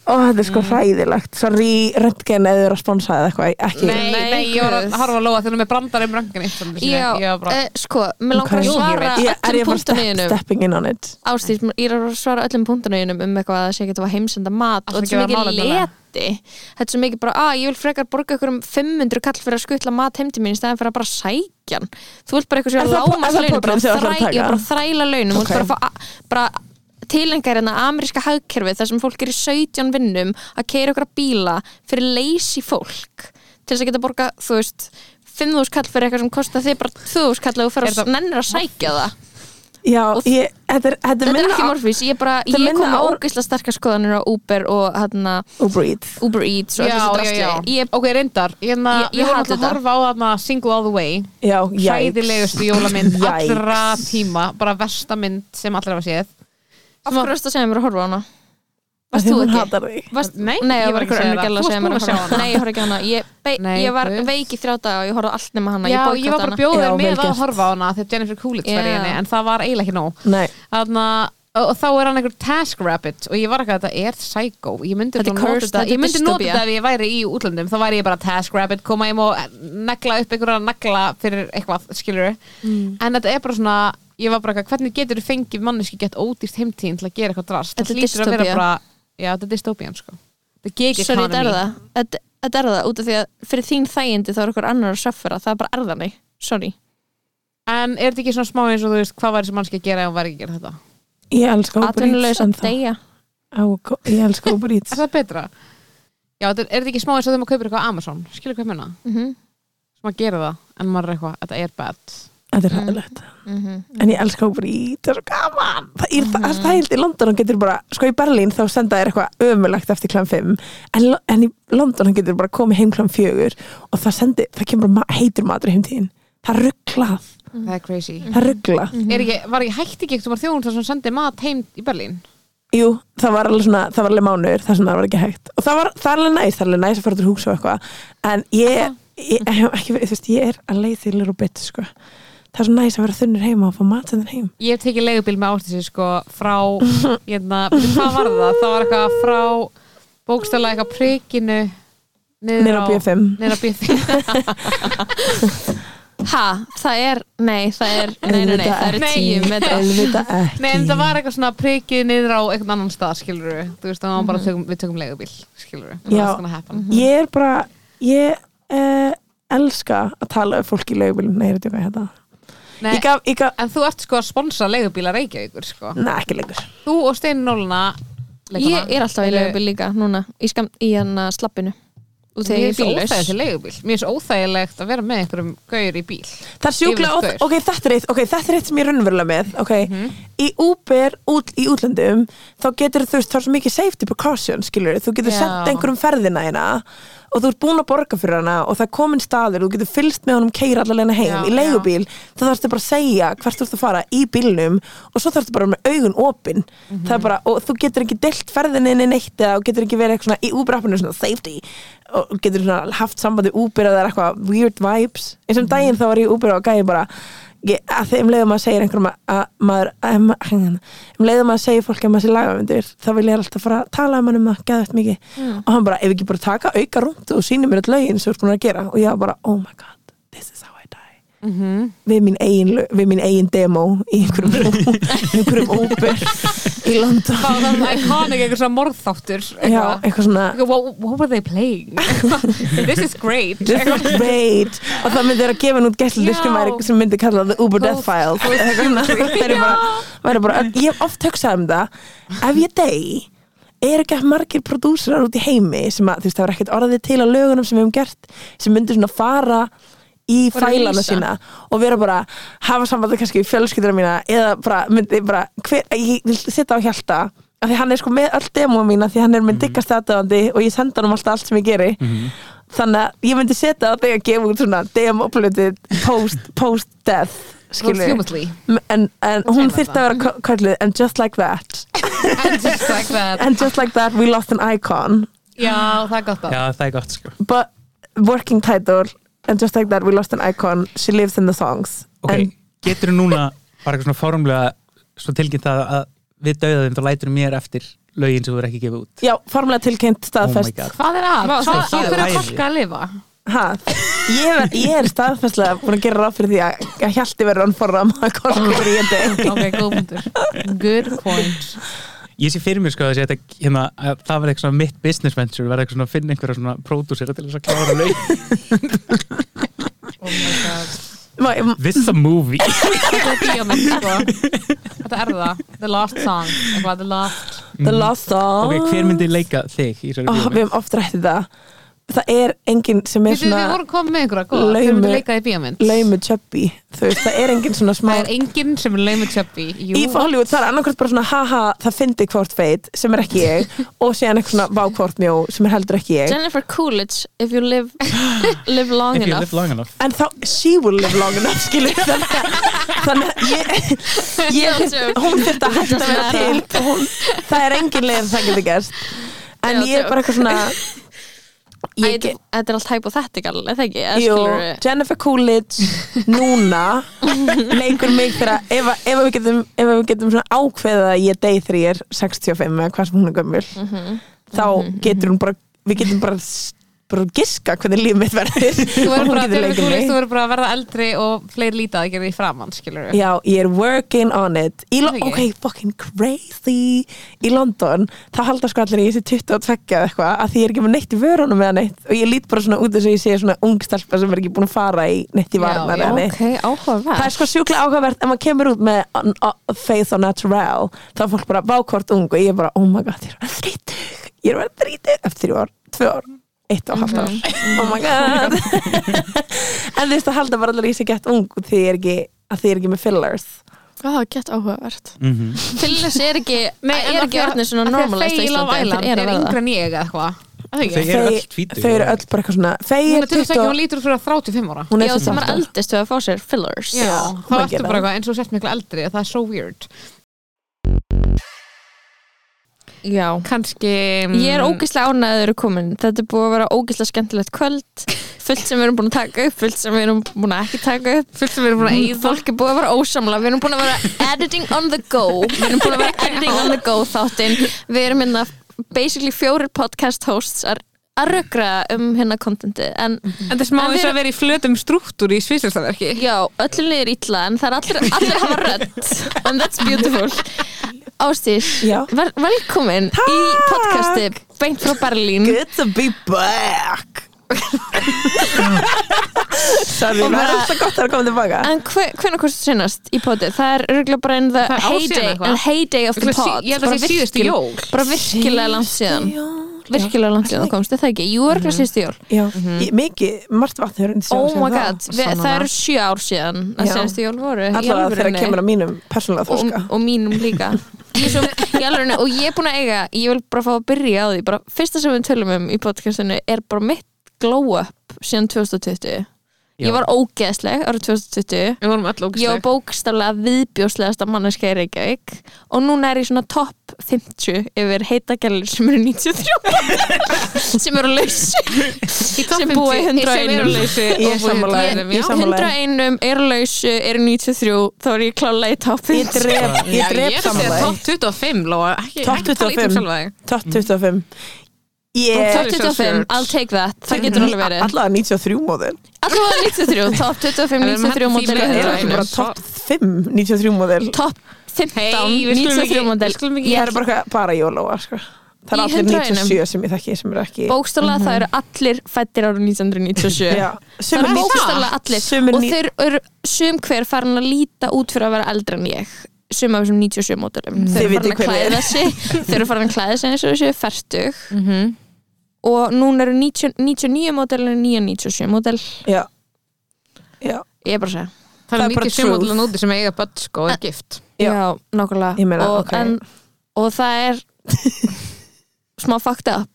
ó, þetta er Mm. sko hræðilegt, sorry röntgen eða er að sponsa eða eitthvað, ekki Nei, nei, Nei, ég var að guð. harfa að lóa þegar með brandar um röngan eitt saman sinni. Já, Ég var bara, eh, sko, mér langar Ok. að Ég- svara er ég öllum bara punktunniðinum stepp, stepping in on it Ástýr, ég er að svara öllum punktunniðinum um eitthvað að það sé ekki að heimsenda mat Allt og ekki þetta er vera svo mikið málefnalega. leti Þetta er svo mikið bara, að ég vil frekar borga ykkur um 500 kall fyrir að skutla mat heim til mín í stæðan fyrir að bara sækja hann Þú vilt bara eitthvað Er sér að það- láma er það launum bara, prógramm sem þú ætlar að þræ, taka? já, bara þræla launum Ok. okay. bara, að fá, a- bara tilengar en að ameríska hagkerfi þar sem fólk er í 17 vinnum að keira okkur að bíla fyrir leysi fólk til þess að geta borga, þú veist 5.000 kall fyrir eitthvað sem kostar þig bara 2.000 kall og þú Er fyrir það- að nennir að sækja það já, Og- ég, þetta er, þetta er Þetta er minna ekki morfís, ég, bara, þetta ég kom minna með á- ógisla sterkar skoðanir á Uber og hana, og breathe Uber Eats og já, öllu þessu já, já. drastli Ég, Ok, reyndar, hérna, Ég- ég við vorum hata alltaf að þetta. harfa á þarna Single All The Way. já, jæks Sæðilegustu jólamynd Yikes. allra tíma, bara versta mynd sem allir hafa séð. af hverju varst að segja mér að horfa á hana? Af Varst því þú hún ekki? hatar þig. Varst, Nei, ég ég var var ekki eitthvað að segja önnur það. gæla Þú að segja mér að varst búin að horfa á sjá hana hana. Nei, ég horfa ekki á hana Ég, be, Nei, ég var guð. veik í þrjá daga og ég horfa allt nema hana Já, Ég, ég var bara boykotta að bjóða Já, þér vel með gert. að horfa á hana þegar Jennifer Coolidge var í Já. henni, en það var eiginlega ekki nóg. nei, Þarna, og og þá er hann einhver task rabbit og ég var ekki að þetta er psycho ég myndi, Þetta er bara nota cursed, þetta- þetta er ég myndi nota dystopía. þetta ef ég væri í útlöndum þá væri ég bara task rabbit, koma ég og negla upp einhverja negla fyrir eitthvað skilur Mm. en þetta er bara svona ég var bara eitthvað, hvernig getur þú fengið manneski gett ódýrst heimtíðin til að gera eitthvað drast Þetta er hlýtur að vera dystopía. bara, já þetta er dystopian sko þetta er gig Sorry, þetta er economy. það Þetta- Þetta er það, út af því að fyrir þín þægindi þá er eitthvað annar að söffera Það er bara erðanig, sorry en er þetta ekki svona smá eins og þú veist hvað væri sem manneski að gera ef hún væri ekki að gera þetta ég elska og Atvinnulegs breathe að en það- deyja Á, gó- ég elska og breathe er það betra? já, þetta er er þetta ekki smá eins og þegar maður kaupir eitthvað á Amazon skilur hvað ég meina? Mhm, sem að gera það en maður er eitthvað, þetta er bad þetta er hæðilegt mhm. en ég elska og breathe, það er svo gaman það Mm-hmm. er það, það heilt í London og getur bara sko í Berlín þá senda þér eitthvað ömulegt eftir klæm 5 en, lo- en í London hann getur bara komið heim klæm 4 og það sendi, það kemur bara ma heitur matur í heimtíðin, það er rugglað það er crazy það Mm-hmm. er rugglað, er ekki, var ekki hægt ekki eitthvað þjóðun sem sendi mat heim í Berlín jú, það var alveg svona það var alveg mánuður, það sem það var ekki hægt og það var, það er alveg næst, það er alveg næst að fara til hús og eitthvað en ég, ég, ég, ekki, þú veist, ég er að leið því little bit sko. það er svo næst að vera þunnur heima og fá matsendin heim ég hef tekið leigubíl með ástísi sko frá hérna, veitir hvað var það? það var eitthvað frá bókstæla eitthvað prikinu Niður á B5. niður á B5 Ha, það er, nei, það er Nei, nei, nei, það eru Nei. tíu metrar auðvitað ekki nei en það var eitthvað svona prikið niður á einhvern annan stað skilur við, þú veist það var bara tökum, við tökum leigubíl skilur Mhm. Já. Mhm. Mhm. við ég er bara ég uh, elska að tala um fólk í laugubílum nei, ég er þetta hvað þetta ég gaf, ég gaf, en þú ert sko að sponsa leigubíla Reykjavíkur sko neða ekki lengur þú og Steini Nóluna Ég er alltaf í Eru- leigubíl líka núna Í, skam, í hann slappinu Út þegar ég er Mér er bílaus svo óþægilegt í leigubíl Mér er svo óþægilegt að vera með einhverjum gaur í bíl það er sjúklega, Yfirleitt Mhm. óþ- ok, þetta er eitt ok, þetta er eitt sem ég er raunverulega með ok, í Uber út, í útlöndum þá getur þú veist, þá er svo mikið safety precaution skilur, þú getur Já. sendt einhverjum ferðina hérna og þú ert búin að borga fyrir hana og það er komin staður, þú getur fylst með honum keira allalegna heim Já, í leigubíl þá þarfstu bara að segja hvert þú ert að fara í bílnum og svo þarfstu bara að vera með augun opin það er bara, og þú getur ekki deilt ferðinni neitt eða og getur ekki verið eitthvað svona í Uber-appinu svona safety og getur svona haft sambandi Uber eða það er eitthvað weird vibes eins og um daginn þá var ég í Uber og gæði bara ég, að þeim leiðum að segja einhverjum að, að maður, að, ma- hann- um leiðum að segja fólk að maður sé lagamundir, þá vil ég alltaf fara að tala um hann um það, geðvægt mikið og hann bara, ef ekki bara taka auka rúnd og sýnir mér öll lögin sem þú ert búin að gera og ég var bara, oh my god, this is how I die við mín eigin, lög- við mín eigin demo í einhverjum, í einhverjum Uber í London Það var þannig iconic eitthvað svona morðþáttur Já, eitthvað. eitthvað svona Eitthvað, What, what were they playing? This is great This is great Og það myndi vera að gefa nút gæstlilstum Já. sem myndi kalla The Uber Go- Death File Eitthvað svona. Þeir eru bara, væri bara, Ég hef oft hugsað um það Ef ég degi er ekki að margir prodúsarar út í heimi sem að, þú veist, það var ekkert orðið til á lögunum sem við höfum gert sem myndi svona fara í Bara fælana lýsa. sína hérna og vera bara, hafa sambandi kannski í fjölskyldra mína eða bara, myndi bara hver, ég vil setja á hjalta af því hann er sko með öll demóa mína því hann er Mhm. með diggast aðdöðandi og ég senda hann um alltaf allt sem ég geri þannig að ég myndi setja á þig að gefa út svona demóplutið post, post-death skilur Presumably en, en hún kemur þyrfti það. að vera kö- kölluð and just like that And just like that and just like that we lost an icon Já, það er gott að Já, það er gott sko but working title and just like that we lost an icon she lives in the songs Ok, en, getur þú núna bara eitthvað svona fórumlega svo tilkynnt það að við dauðaðum þá lætur mér eftir lögin sem þú er ekki gefið út já, formlega tilkynnt Oh my staðfest god Hvað er að? Vá, það Hvað, á er hverju æði. fólk að lifa? ha, ég, er, ég er staðfestlega búin að gera ráð fyrir því að, að hjalti verður hann forram að korku fyrir ég deg Ok, góð punktur Good point Ég sé fyrir mér sko að, þetta, hérna, að það var eitthvað svona mitt business venture verða eitthvað svona að finna einhverja svona pródúsera til þess að klára lög Oh my god Má- m- This is a movie Þetta er bíómynd, sko Þetta er það The last song Eitthvað, the last The Lost Song Mm. Ok, hver myndi leika þig í þessari Ó, oh, Við hefum oft rættið það Það er enginn sem er Við við svona vorum komið með einhverja, góða Þau laumi- myndu leikað í bíómynd laumu chubby Þú veist, það er enginn svona smá Það er enginn sem er laumur tjöppi Jú, Í Hollywood það er annarkvæmt bara svona haha það fyndi hvort feit sem er ekki ég og síðan eitthvað svona vá hvort mjó sem er heldur ekki ég Jennifer Coolidge, if you live, live long If you enough live long enough en þá she will live long enough skilur þannig að- þannig að ég, ég Sjálfsög. hún þurft að hætta að vera til og hún, það er engin leið að það getur gerst en Já, ég er bara eitthvað svona Æ, ég get, Þetta þetta er allt hypothetical, er það ekki? Eða Jú, skilurðu- Jennifer Coolidge núna leikur mig þegar að- ef, að- ef að við getum, ef að við getum svona ákveðið að ég degi þegar ég er 65 eða hvað sem hún er gömul Mhm. þá getur hún bara við getum bara, s- bara giska hvernig líf mitt verður Þú og verður hún getur bara, Jennifer leikið Coolidge, þú mig verður bara að verða eldri og fleiri lítið að gera því framann, skilur við. Já, ég er working on it í, Lo- Ok. Ok, fucking crazy Í London, þá halda sko allir að ég sé 22 eða eitthvað að því ég er ekki með neitt í vörunum eða neitt og ég lít bara svona út þess að ég sé svona ung stelpa sem er ekki búin að fara í neitt í Já, varnar já. eða neitt Ok, áhugaverð það er sko sjúklega áhugavert ef maður kemur út með on- o- faith on natural þá er fólk bara vákvort ung og ég er bara oh my god, ég er að þrítug ég er að vera þrítug eftir þrjú ár, tvö ár eitt og halvt ár, Mhm. oh my god en þú veist að halda bara allir í sig gett ung því ég er ekki að því ég er ekki með fillers Það er gett áhugavert mm Fyllis er ekki, er ekki orðnir svona normalist á Þegar Love Íslandi Island Þeir eru er að verða yngre en ég eða eitthvað. Er Það Þau ekki. eru Þau- öll tvítug þau eru öll bara eitthvað svona þau er Hún er til þess ekki, hún 20 lítur út fyrir að 35 ára. hún Já, er sem er 28. eldist við að fá sér fillers Já, þá maður ertu gerir bara það. eitthvað eins og þú sért miklu eldri, það er so weird. Já. Kanski... Ég mm, er ógislega ánægð að þau eru komin Þetta er búið að vera ógislega skemmtilegt kvöld Fullt sem við erum búin að taka upp Fullt sem við erum búin að ekki taka upp Fullt sem við erum búin að Mm, eyða. Fólk er búið að vera ósamla Við erum búin að vera editing on the go Við erum búin að vera editing on the go þáttinn Við erum hérna basically fjórir podcast hosts að að rökra um hérna kontenti en En það er smá En við eins og erum- að vera í flötum struktúr í sviðslistaverki. já, öllum liður illa en það er allir, allir hafa rödd and that's beautiful Ástís, Já. vel, velkomin í Takk. podcasti Beint frá Berlín good to be back Oh sorry, það Og er bara- alltaf gott að það er komið tilbaka En hvernig hvort þú senast í podið? Það er örgulega bara in the Það er ár síðan heyday, eitthvað. in heyday of Ég the held að pod sé- ég held að Bara sé síðustu virkilega- jól. Bara virkilega langt síðan Virkilega langt síðan þú komst, er það ekki? Jú, örgulega síðustu jól Já, ég, mikið, margt vatn hefur undir Mhm. Oh my god, við, það sannarlega. eru sjö ár síðan að Já. senstu jól voru í Alltaf þegar alvörunni. kemur að mínum persónulega og, þroska sko. og mínum líka ég er svo, í alvörunni, og ég er búin að eiga ég vil bara fá að byrja á því bara, fyrsta sem við tölum um í podcastinu er bara mitt glow up síðan 2020 Já. ég var ógeðsleg árið 2020 Við vorum öll ég var ógislega. bókstaflega viðbjóslegasta manneska í Reykjavík og núna er ég svona topp 50 yfir heitagellir sem eru 93 sem eru laus sem búa í 101 Sem eru lausi Ég og búa í sammála þér. 101. Ég Ég sammála. 101 eru lausu, eru 93 þá er ég klálega í topp Ég 50 dref, ég dref Ég er að segja samanlega topp 25, Lóa, ekki, Topp ekki tala um ítum 25. sjálfa þig. Top 25 Mhm. Top Ég Sorry, 25, Sjálfsjörn. I'll take that Það getur alveg verið Alla 93 móðil Allavega 93, top 25, En við erum 93 hann mótil því Er með það ekki bara top 5 93 móðil Top 15, Hey, við skulum ekki- 93 model við skulum ekki- Ég Ég er bara, eitthvað- bara jólóa sko. Það er Í allir 100 einum. 97 sem ég þekki sem er ekki Bókstálega Mhm. það eru allir fættir árið Já, 1997 Það sumir eru níu- bókstálega allir sumir Og níu- þeir eru sum hver farin að líta út fyrir að vera eldri en ég Sum af þessum 97 Mm. mótulum Þeir Þið eru vitið farin að hver klæða er. sig Þeir eru farin að klæða sig eins og þessu færtug Mhm. Og núna eru 90, 99 mótel En 997 mótel Já, já, Ég er bara að segja Það Það er er bara mikið truth. sumúðlega núti sem eiga börn sko og er gift Já. Já, nákvæmlega Ég meina, og, ok. og það er smá fucked up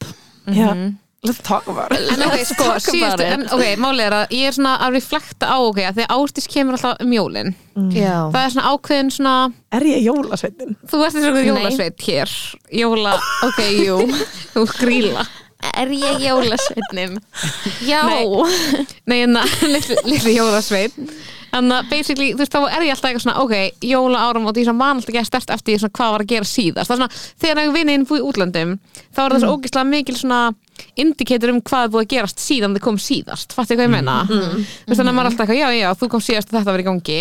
já Mhm. Let's talk about it En ok, Let's sko, talk about síðustu, it. en ok, málið er að ég er svona að reflekta á, ok, að því að Ástís kemur alltaf um jólin Já Það er svona ákveðin svona, Er ég jólasveitin? þú ert eins og Nei. jólasveit hér Jóla, ok, jú, þú ert gríla Er ég jólasveitnin? Já Nei, en að, litli, litli jólasveit En að, basically, þú veist, þá er ég alltaf eitthvað svona, ok, jóla áram og því sem man alltaf ekki að stert eftir því svona hvað var að gera síðast Það er svona, þegar ég vinni inn búið í útlöndum Þá er það Mm. svo ógislega mikil svona indikator um hvað er búið að gerast síðan þið kom síðast Fattu hvað ég meina? Mm, Þú veist, þannig að maður er alltaf eitthvað, já, já, þú kom síðast og þetta var í gangi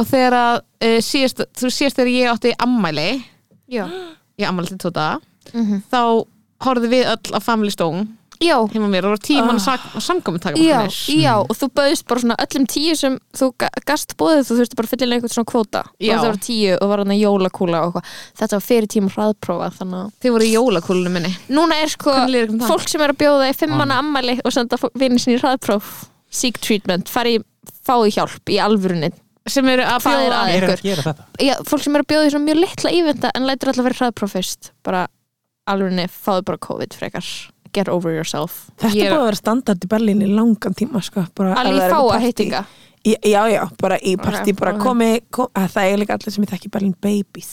Og þegar að, uh, síðast, þú síðast þegar ég átti ammæli Já, Mhm. Ég ammæli til tóta Þá horfði við öll á Family Stone já, heima á mér og tíman oh. samkomin taka Ah. já, já. og þú bauðst bara svona öllum tíu sem þú ga- gast bóðið þú þurfti bara að fylla inn einhvern svona kvóta Já. og það var tíu og var hann að jólakúla og eitthvað þetta var fyrir tíma hraðprófa þannig að Þið voru í jólakúlunum minni núna er sko Hvernig líður ykkur um það? fólk sem er að bjóða í fimm manna ammæli og senda vinni sinni í hraðpróf seek treatment, fari, fái hjálp í alvörunni sem eru að Hvað er bjóða að- Ég er Ykkur. að gera þetta já, fólk sem er að bjóða því svona mjög litla ívenda en lætur alltaf verið hraðpróf fyrst bara alveg nefn, fáðu bara COVID frekar get over yourself Þetta Ég er er- búið að vera standard í Berlín í langan tíma sko. bara, ef alveg það er fá eitthvað að partí- heitinga Í- Já, já, bara í partí Ok, bara ok. komi, kom, að það er líka allir sem ég þekki í Berlín babies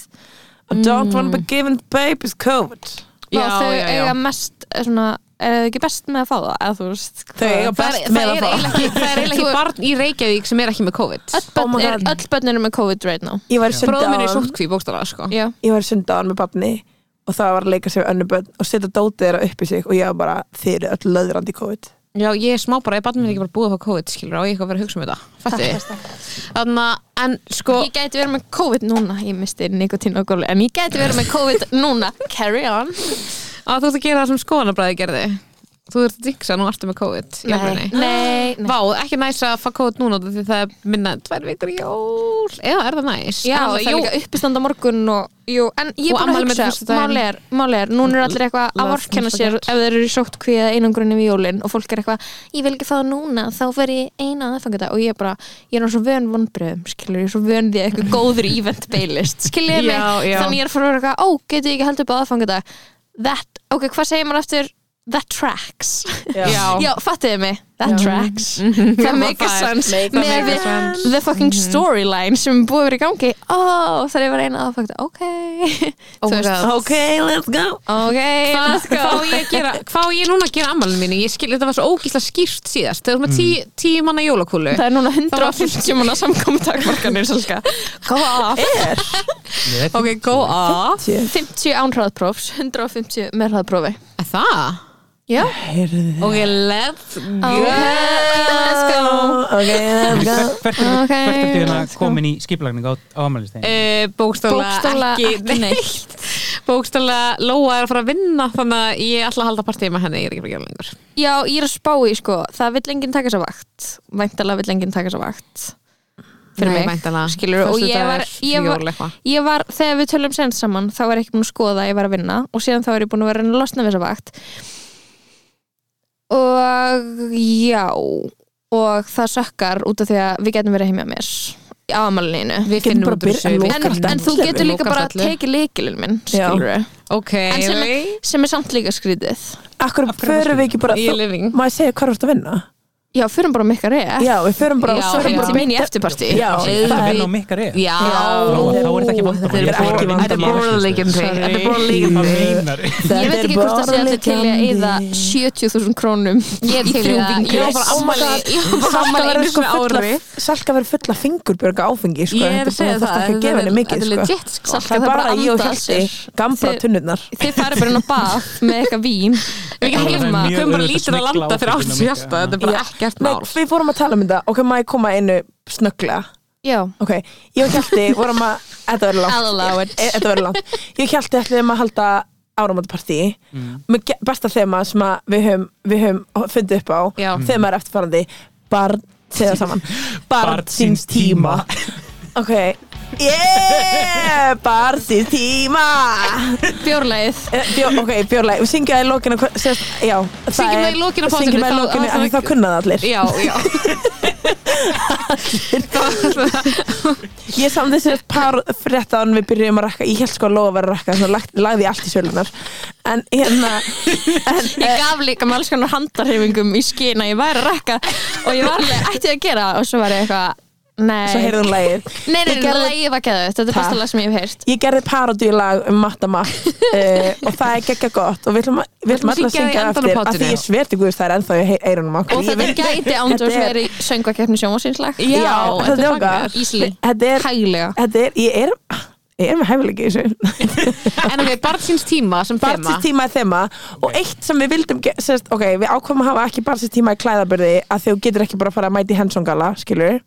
I Mm. don't want to be given babies COVID já, Já, þau já, já. eiga mest eh, svona, er þau ekki best með að fá það eða þú veist Þau hvað? eiga Það best er, það með er að fá eiginlega ekki, það er eiginlega Þú- ekki barn í Reykjavík sem er ekki með COVID öll, börn, Oh my er, God. öll börn eru með COVID right now Ég var í sundi Bróðum minn er í áðan- sótkví bókstara sko. já, ég var í sundaðan með papni og það var að leika sér við önnu börn og setja dótið þeirra upp í sig og ég var bara þið eru öll löðrandi í COVID Já, ég er smá bara, ég barn minn er ekki bara búið á COVID skilur og ég er eitthvað að vera að hugsa um þetta Fætti Þannig að en sko ég gæti verið með COVID núna ég misti nikotín og gólu en ég gæti verið með COVID núna carry on að þú ert að gera það sem skoðanabræði gerði Þú ert að dingsa nú ertu með COVID í nei, alvörunni. nei, nei. Vá, ekki næs að fá COVID núna út af því það er minna en tvær vikur í jól Eða er það næs? Já, það Alveg, er jú. líka uppistand á morgun og, jú, en ég er Og bara afmæli að með hugsa föstudaginn. máli er, máli er, núna er allir eitthvað að Love vorkenna must sér forget. ef þeir eru í sóttkví eða einangrunni við um jólin og fólk er eitthvað, ég vil ekki fá það núna þá verð ég eina aðfangadag og ég er bara ég er nú svo vön vonbröðum, skilur ég er svo vön því að eitthvað góður event beilist skilur ég mig, Já, já. þannig ég er að fara að vera eitthvað ó, getur ég ekki heldur upp á aðfangadag that, ok, hvað segir maður eftir that tracks, Já. já, fattiði mig that tracks, Já, það make a það er- sense Make- með make a við the fucking storyline sem er búið að vera í gangi ó, Mhm. oh, það er bara eina aðfakt ok, Oh Þú my veist, God. ok, let's go ok, let's hvað go á ég, að gera- hvað á ég núna að gera ammálinu mínu ég skil, þetta var svo ógísla skýrt síðast þegar þú erum með tí, tíu manna jólakúlu það er núna Það var 150 manna samkomi takmarkanir Salka. go off Ég ok, go off 50 án hraðprófs, 150 með hraðprófi Er það? já, heyrðu ok, let's ok, let's go ok, let's go Hvert er Ok, þetta hérna let's go. komin í skipulagning á, á amælistegin? uh, bókstála bókstála ekki ekki neitt bókstála Lóa er að fara að vinna þannig að ég ætla að halda partíð með henni ég er ekki að gera lengur já, ég er að spá í sko, það vill enginn taka sér vakt væntalega vill enginn taka sér vakt fyrir mig skilur, og ég var, ég var ég var, þegar við tölum senst saman þá var ég ekki búin að skoða að ég var að vinna og síðan þá er ég búin að vera að reyna að losna við þessa vakt og já og það sökkar út af því að við getum verið heimja mér á amalinu við Getum finnum bara út úr byrjað að loka þessu við en, alltaf finnum- en þú ellefu. getur líka bara Lokast ellefu. tekið leikilinn minn skilur ok, en sem er, right. sem er samt líka skrítið akkur förum við ekki bara Ég er living. maður segja hvað þú ert að vinna já, förum bara mikka reyð já, við förum bara Já, svo erum já. bara sem minn í eftirparti Já, Það er að vinna á Auðvitað. mikkar eða? já, þá er þetta ekki vandamál. Þetta er Ég ekki bara vandamál. að mynda mér, Þetta er bara Sorry. líkindi. Það meinar ég veit ekki hvort það sé allir til í að eyða 70.000 krónum Ég í til í þrjú það. vingur Ég var bara á afmæli- ég var bara Salka á afmæli verður einu sko sinni á fulla ári. Salka verður fulla fingurbjörga áfengi sko. Ég er að segja það, Það er þetta gefa er- henni mikið þetta er sko. legit, Salka, sko. Salka Það er þarf bara bara að ég og anda að Hjalti sér. Gambra Þið- tunnurnar þið farið bara inn á bað með eitthvað vín Við Það er mjög komum bara auðvelt að lítur að smygla landa fyrir áfenginu ástins mikið, já. hjarta Þetta er bara Já. ekkert Nei, mál við fórum að tala um þetta Ok, maður koma einu snögglega já, Ok, ég og Hjalti vorum að Þetta verður langt I'll allow it. E- Þetta verður langt Ég og Hjalti ætlum að halda áramótapartí með ge- besta þema sem að við höfum, við höfum fundið upp á Já. þema er eftirfarandi barn, segja það saman Mm. barn síns tíma ok, yeah barn síns tíma bjórleið Eh, bjó, ok, bjórlega, við syngjum það í lokinu sérst, já, það Syngjum það er- í lokin á potinu, syngjum það í þá- lokinu, þá- af því þá- þá kunna það allir Já, já Ég samði sér par frétt án við byrjum að rakka, ég held sko að lofa að vera að rakka þannig að lagt- lagði ég allt í sölunar en hérna en, Ég gaf líka með alls konar handarhefingum í skina Ég væri að rekka og ég var alveg ætti ég að gera það?" og svo var ég eitthvað Nei, svo heyrði hún lagið nei, nei, Ég nei, gerði- lagið var geðið Þetta er Takk. besta lag sem ég hef heyrt Ég gerði parodíulag um matta matt uh, og það er geggja gott og við ætlum, að- við ætlum ætlum að alltaf að syngja það í syngja það endanum eftir á af potinu. því ég sverti guðist það er ennþá í hey- eyrunum okkur Og þetta gæti ándurs verið söngvakeppni sjónvarsinslag Já, þetta er okkar Ísli, Þetta er, hæglega þetta er, ég er ég er með hæfileiki í þessu En ok, barnsins tíma sem þema barnstíma er þema og eitt sem við vildum ge- sérst, ok, við ákvæmum að hafa ekki barnstíma í klæðaburði að þú getur ekki bara að fara að mæti hensongala, skilur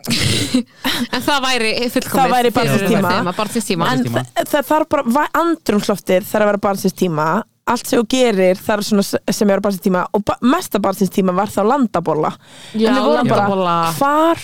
En það væri fullkomið Það væri barnsins fyrir tíma. þema, Barnsins tíma en Barnsins tíma. þa- það þarf bara, va- andrumsloftið þarf að vera barnstíma allt sem þú gerir þarf svona s- sem er barnstíma og ba mesta barnstíma var þá landabóla Já, en við vorum bara, landabóla. hvar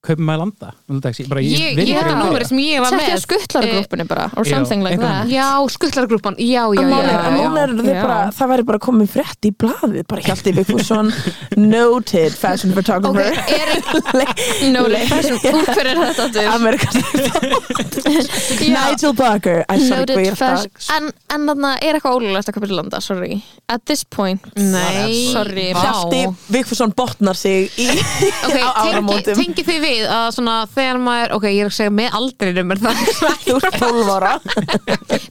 kaupum maður landa nú dags, bara í- Ég, virkilega ég þetta bara. númeri sem ég var Tækja með eh, skuttlargrúppinu bara Or Já, something like einhvern that veginn. Já, skuttlargrúpan, já, já, Málið- já, já. Núna eru þau já. bara, það væri bara komin frétt í blaðið, bara Hjalti Vigfússon noted fashion Ok, photographer er No, le- þessum, úr hver er þetta Ah, aftur? Amerikansk Já. Nigel Barker Æ, sorry, Noted hvað ég er alltaf- first- En, en þarna er eitthvað ólulegt að kapið til landa, sorry At this point Nei, Sorry. vá. Hjalti Vigfússon botnar sig í, Ok, á tengi, áramótum tengi þið við að svona þegar maður, ok, ég er að segja með aldrinum er það Þú ert 12 ára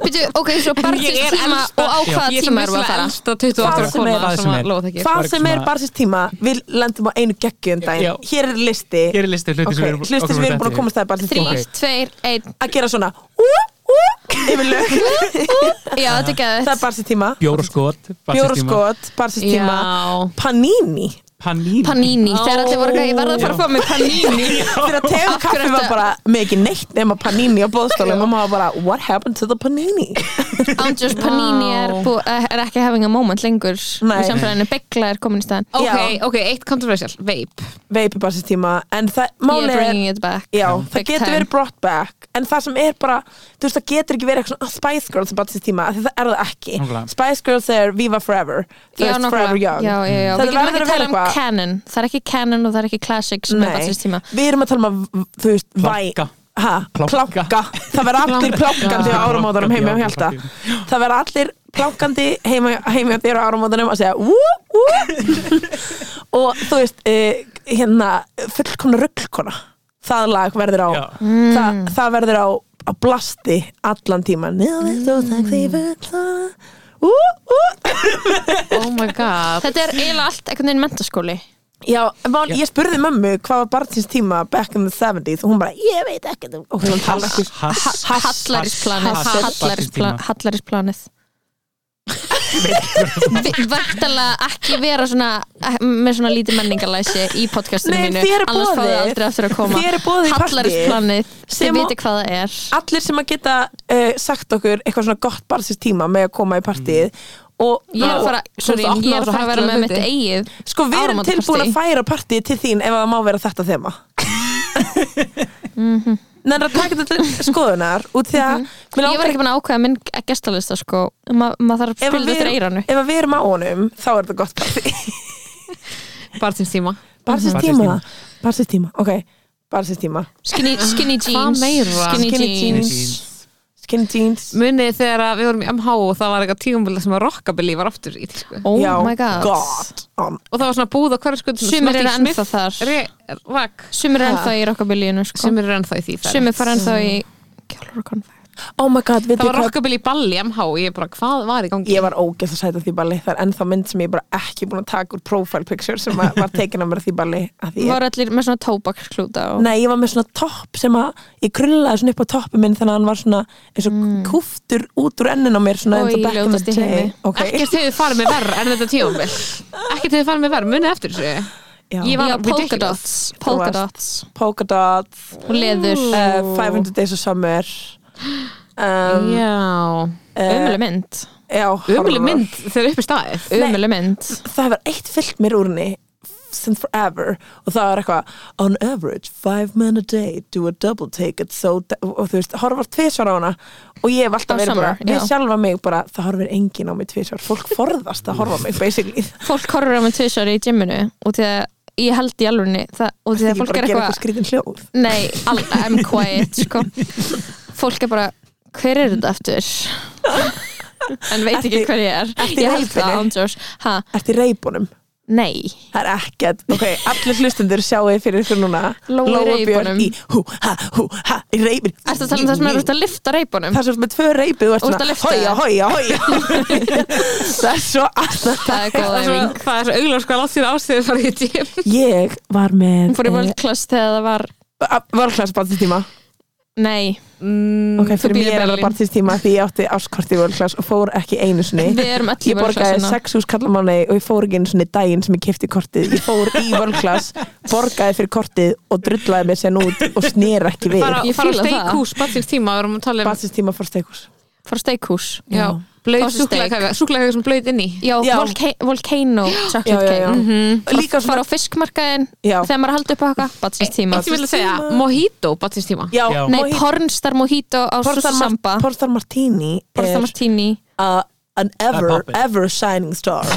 Býtu, ok, svo barnsins Ég er tíma elsta- og á hvaða Ég er tíma erum við að vissulega fara elsta 28 Hvað ára sem kona er, hvað sem sem að er. lóða það ekki Það sem er svona- barsins tíma Við lendum á einu geggjum Já. daginn Hér er listi Hér er listi hluti Ok, sem við erum Hlusti sem við erum búin að komast það í barsins tíma Þrýr, tveir, einn Að gera svona ú, ú, Yfir lög Já, þetta er Það er geðið barsins tíma Bjór og skot Bjór og skot, barsins tíma Já. Panini Panín Panini, þegar allir voru ekki, ég verði að fara að fá mig panini Þegar tegu Af hverju kaffi var ertu- bara með ekki neitt nema panini á bóðstólum og maður bara, what happened to the panini? Andjós panini er, bú, eh, er ekki having a moment lengur Nei. í samfélaginu, Begla er komin í staðan Já. Ok, ok, eitt controversial, vape Veipi barsins tíma en það, Ég er málið er bringing it back um, Já, það Big getur time. verið brought back en það sem er bara, þú veist það getur ekki verið eitthvað svona "Ah, Spice Girls bara þessi tíma af því það er það ekki, Nákvæmlega. Spice Girls er Viva Forever, þú Já, veist Forever nokkulega, Young Mm. já, já, já. Það Við getum verður ekki að vera að tala um eitthvað. canon Það er ekki canon og það er ekki classic sem er batsins tíma við erum að tala um að, þú veist, væ- Planka. ha, Planka. planka það verða allir plankandi á áramótanum heima hjá Hjalta það verða allir plankandi heima, heima hjá þér á áramótanum að segja "Ú, ú." og þú veist uh, hérna, fullkomna rullkona það lag verður á Já. það, Mm. það verður á, á blasti allan tíman Ú, ú. Oh my god Þetta er eiginlega allt einhvern veginn mentaskóli Já, mál, ég spurði mömmu hvað var barnsins tíma back in the 70s og hún bara, ég veit ekki og hún tala ekki Hass Hallarísplanið Hass- Hallaríspla- Hass- Hallarísplanið Væntalega ekki vera svona eh, með svona lítið menningalæsi í podcastinu Nei, mínu þér er annars fáið boðið. aldrei aftur að koma Þér er boðið í partí. Hallarísplanið, Sem þið og- viti hvað það er allir sem að geta uh, sagt okkur eitthvað svona gott barnsins tíma með að koma í partíið og Ég er að fara, Þú sorry, ert að opna ég er að fara að vera með fallega mitt hluti. eigið sko við erum áramótapartí. tilbúin að færa partíið til þín ef að það má vera þetta þema Nennar að taka þetta til skoðunar út því að mig Mhm. Ég var langar ekki búin að ákveða minn gestalista sko Ma, maður þarf ef að að spila þetta við- eiranu ef að við erum á honum þá er þetta gott partí Barnsins tíma Mhm. barnsins Barnsins tíma tíma. barnsins tíma, ok barnsins tíma Skinny, skinny jeans meira? Skinny, Skinny jeans. jeans. skinny jeans Munið þegar að við vorum í MH og það var eitthvað tíumbilið sem að rockabilly var aftur í tísku. Oh Já, my god, god. Um, og það var svona búð á hverju skutum Sumir eru ennþá þar Rak, Sumir eru ennþá í rockabillyinu sko. sumir eru ennþá í því ferð. Sumir fara ennþá í kjálur og konfekt oh my god, veitir Það var hvað rockabilly ball í MH og ég bara, hvað var í gangi? ég var ógeðs að sæta því balli það er ennþá mynd sem ég er bara ekki búin að taka úr profile picture sem að- var tekin að mér á því balli að því ég, Var allir með svona tóbaksklúta og... nei, ég var með svona topp sem að ég krullaði svona upp á toppu minn þannig að hann var svona eins og kúftur út úr ennin á mér svona eins Mm. Oj, og back in the ljótasti í day heimi. okay. Ekkert hefur farið með verð en þetta tíumbil Ekkert hefur farið með verð, munið eftir þessu Já. Ég var Já, polka ridiculous. dots, polka Þú varst- dots Polka Dot, og leður uh, 500 Days of Summer um, Já, Ömuleg mynd, Já, horror. umulig mynd þegar upp í staðið ömuleg mynd það hefur eitt fyllt mér úr henni since forever og það var eitthvað on average, five men a day do a double take it so da-" og þú veist, horfar tvisvar á hana og ég hef alltaf Á verið bara, summer, við já. sjálfa mig bara það horfir engin á mig tvisvar, fólk forðast að horfa á mig basically, Fólk horfir á mig tvisar í gyminu og því að ég held í alvörni og því það að er bara fólk er að gera eitthvað eitthvað skritin hljóð Nei, all, I'm quiet sko. Fólk er bara Hver er þetta aftur? en veit ekki Ertu- hver ég er ertu í Ég held það reipinu? án George ha, Ertu í reybunum? Nei, Það er ekkert, ok, allir hlustendur sjáu fyrir ykkur núna Lóu í Lóa Björk reybunum. í hú, ha, hú, ha, í reybin ertu að tala um það sem er út að lifta reipunum? Það sem þú ert með tvö reypið og Og ert ert að svona, lyfta hója, þér. hója, hója Það er svo annað Það er góð Það er svo, eifing það er svo auglur sko að láta sér ástöðu fara í gym Ég var með eh, Hún fór í World Class þegar það var Vörklass barnstíma Nei, mm, okay, þú Fyrir býrð í mér er það Berlín. barnstíma því ég átti áskort í vörklass og fór ekki einu sinni við erum öll í Ég World hérna. borgaði Classina sex hús kallamáni og ég fór ekki einu sinni daginn sem ég kefti kortið Ég fór í vörklass, borgaði fyrir kortið og drullaði mér sen út og snýr ekki við Fara Ég fara á fíla það. steikhús Batsins tíma við erum að tala um Barnstíma fór steikus Fór steikhús Já, blöyt Fá sér steik. súklaðkaka Súklaðkaka sem blöyt inn í Já, Já. Volca Volcano chocolate Já, já, já. cake Mhm. Og Líka fara svona á fiskmarkaðin Já. þegar maður er að halda upp á eitthvað Batsins tíma Eitt sem ég vil að segja, mojito Batsins tíma Já, Já. Nei, Mojito- pornstar mojito á Pornstar Mar- Samba Pornstar Martini Pornstar er martini uh, an Það er ever, poppin. ever shining star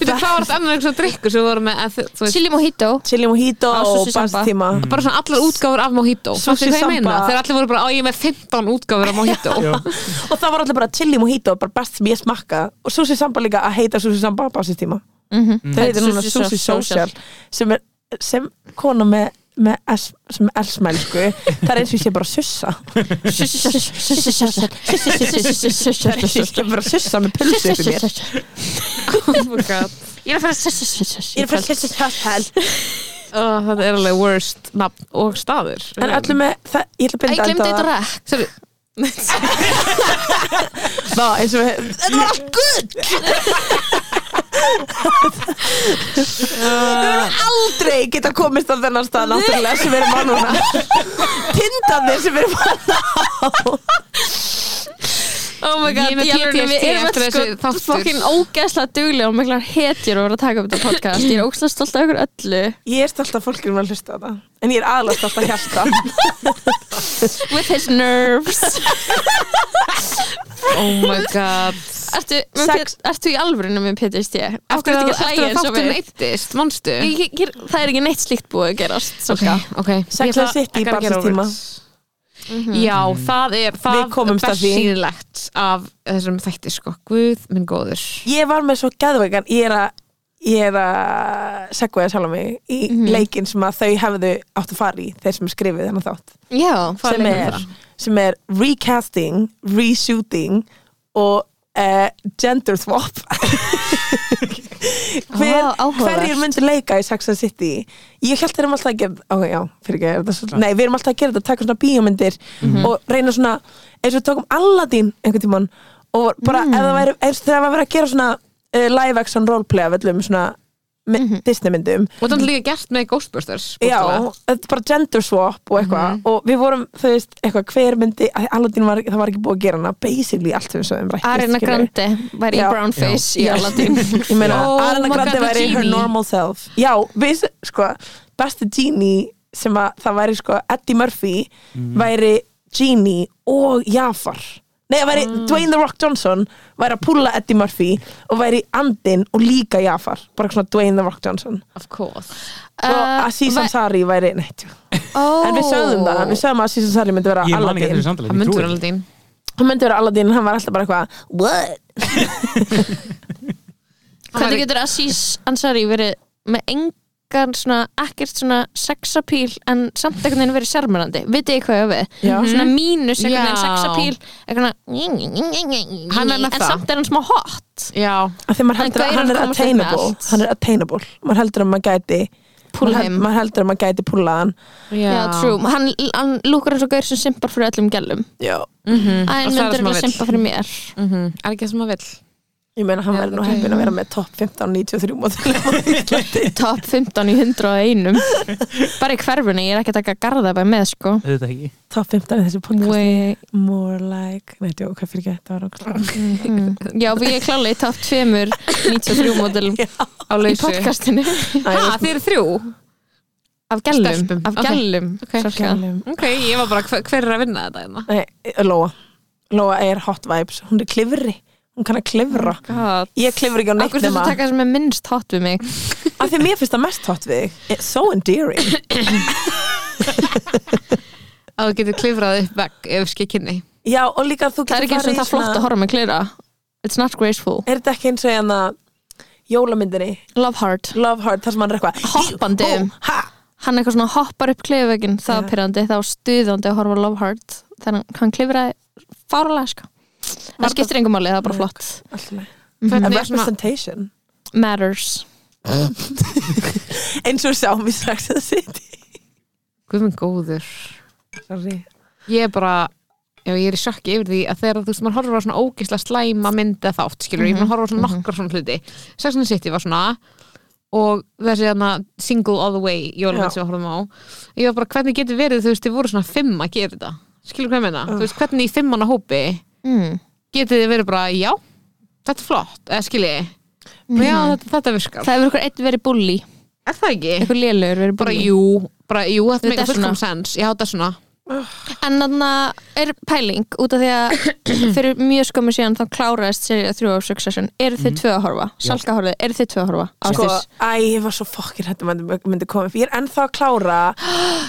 Fyrir hvað var þetta annar einhverjum drikkur sem við vorum með að þið- þú veist, Chili mojito Chili Mojito Á, og Sushi Samba. barnstíma bara svona allar útgáfur af mojito Fattu Sushi hvað ég samba. meina? Þegar allir voru bara, á ég er með 15 útgáfur af mojito og það var alltaf bara chili mojito bara best sem ég smakka og sushi samba líka að heita sushi samba á basistíma Mhm. það heitir núna Sushi sushi Social. social sem er sem kona með, með S, sem er elsmælsku það er eins og ég sé bara að sussa það er eins og ég sé bara að sussa með pulsu yfir mér Oh Ég er að fara að ég er fyrir sushi social Oh, þetta er alveg worst nafn og staður en öllum með það, ég ætla að Æ, binda enda á glemdi þetta það. ræk Sorry, Vá, eins og við- þetta var allt gutt við verðum aldrei geta komist á þennan stað náttúrulega sem við erum á núna tindanir sem við erum á oh my god, Ég með PTSD við erum eftir öll þessi sko þáttur fokkin ógeðslega duglega og miklar hetjur að vera að taka upp þetta podcast Ég er ógeðslega stolt af ykkur öllu Ég er stolt að fólk erum að hlusta á það En ég er aðlast alltaf hjarta With his nerves Oh my god Ertu, með Sex. P- ertu í alvörinu með PTSD? Af Eftir hverju að, ertu ekki að hlæja eftir að eins og við? þátturinn eittist, manstu? Ég- ég- ég- Það er ekki neitt slíkt búið að gerast Salka. ok Sex and City í barnstíma. Mhm. Já, það er Við það komumst að því. bersýnilegt af þessum þætti sko Guð minn góður Ég var með svo geðveikan Ég er að Ég er að segvaði sjálf mig í leikinn sem að þau hefðu átt að fara í þeir sem er skrifið þennan þátt Já, Hvað sem leikur er, það? sem er recasting, reshooting og uh, gender swap Hver, Vá, áhugavert. hverjir myndu leika í Saxon City ég held þeir eru alltaf að gera ok, já, fyrir ekki, er þetta svo, nei, við erum alltaf að gera þetta taka svona bíómyndir og reyna svona eins og við tókum Aladdin einhvern tímann og bara Mm. ef það væri eins og þegar var verið að gera svona uh, live action roleplay af öllum svona mm Mhm. Disney myndum Og það er líka gert með Ghostbusters Já, bókstaflega. þetta er bara gender swap og eitthvað Mhm. og við vorum, þú veist, eitthvað hver myndi að Aladdin var, það var ekki búið að gera hana basically allt sem við sögum rætt Arina Grande var í Já. brownface í Aladdin Ég meina, Já. oh, Arana my Grandi God, the væri her genie. normal self Já, við, sko, besti genie sem að það væri, sko, Eddie Murphy væri genie og Jafar Nei, það væri Mm. Dwayne The Rock Johnson væri að púla Eddie Murphy og væri andinn og líka Jafar bara svona Dwayne The Rock Jonsson Of course og uh, Aziz Ansari væri, neitt, oh. En við sögðum það, við sögðum að Aziz Ansari myndi vera Ég man ekki Aladdin eftir samtalið, Það ég myndur trúi því. hann alveg þín Hann myndi vera Aladdin en hann var alltaf bara eitthvað What? Hvernig getur Aziz Ansari verið með engan svona, ekkert svona sexapíl en samt einhvern veginn verið sjarmurandi vitið þið hvað ég á við, Já. svona Mhm. mínus einhvern veginn Já. sexapíl eitthvað Hann er með en það. samt er hann smá hot Já, Af Því maður En heldur að gaurar hann er komast upp með attainable allt. Hann er attainable Maður heldur að maður gæti maður Púlla hel- him. Maður heldur að maður gæti púla hann já, true, hann, hann lúkar eins og gaur sem simpar fyrir öllum gælum Já að hann Mhm. Mm. Og það er myndur sem hann ekki að vill. simpa fyrir mér Mhm. Er ekki það sem maður vill Ég meina hann Já, verður nú ok. heppin að vera með topp 15 93 mótil Mm. Top 15 í 101 Bara í hverfunni, ég er ekki að taka garðabæ með sko Auðvitað ekki Topp 15 í þessu podcast Way, More like, nei, djó, hvað fyrir ekki þetta var okkur mm. Já, við ég klála í top 2 93 módelum á í lausu podcastinu Ha, þið eru þrjú? Af gælum, Stelpum, af ok. gælum Ok. sorka. Ok, ég var bara, hver, hver er að vinna þetta hérna? Nei, eh, Lóa Lóa er hot vibes, hún er klifri Hún kann að klifra God. Ég klifur ekki á neitt Akkur þurftu nema að taka það sem er minnst hot við mig Af því að mér finnst það mest hot við þig It's So endearing Að þú getur klifrað upp vekk ef skikkinni Já, og líka þú Það er getur farið í ekki eins og það er flott svona- að horfa með klera It's not graceful Er þetta ekki eins og hérna Jólamyndinni, Love heart Love Heart, þar sem hann er eitthvað Hoppandi. um. Hú, hú, ha. Hann eitthvað svona hoppar upp klifveginn Það var Já. pyrrandi, það var stuðandi að horfa á Love heart Þannig hann klifraði fáralega sko Það skiptir engum máli, það er bara flott Allt í lagi. Hvernig er svona, Representation Matters Eins og sjáum við strax að sitja guð minn góður Sorry Ég er bara, já ég er í sjokki yfir því að þegar þú veist, maður horfir á svona ógislega slæma myndi að þátt, skilur, mm ég maður horfir á svona nokkar svona hluti Sex and the City var svona og þessi þarna single all the way jólamenn Já. sem við horfum á ég var bara, hvernig getur verið, þú veist, þið voru svona fimm að gera þetta, skilur hvað ég meina þú veist, hvernig í fimmana hópi mm. getið þið verið bara, já, þetta er flott eða skiljið, mm. já, þetta, þetta virkar Það hefur ykkur einn verið bully er það ekki? Ykkur lélugur verið bara bully jú, bara jú, þetta Þetta meika er svona. fullkom sens já, þetta er svona, En þarna er pæling út af því að fyrir mjög skömmu síðan þá kláraðist serið þrjú af Succession Eru þið tvö að horfa? Salka horfið, eru þið tvö að horfa? Mhm. Sko, Ásdís? æ, ég var svo fokkin hættum að þetta myndi koma upp. Ég er ennþá að klára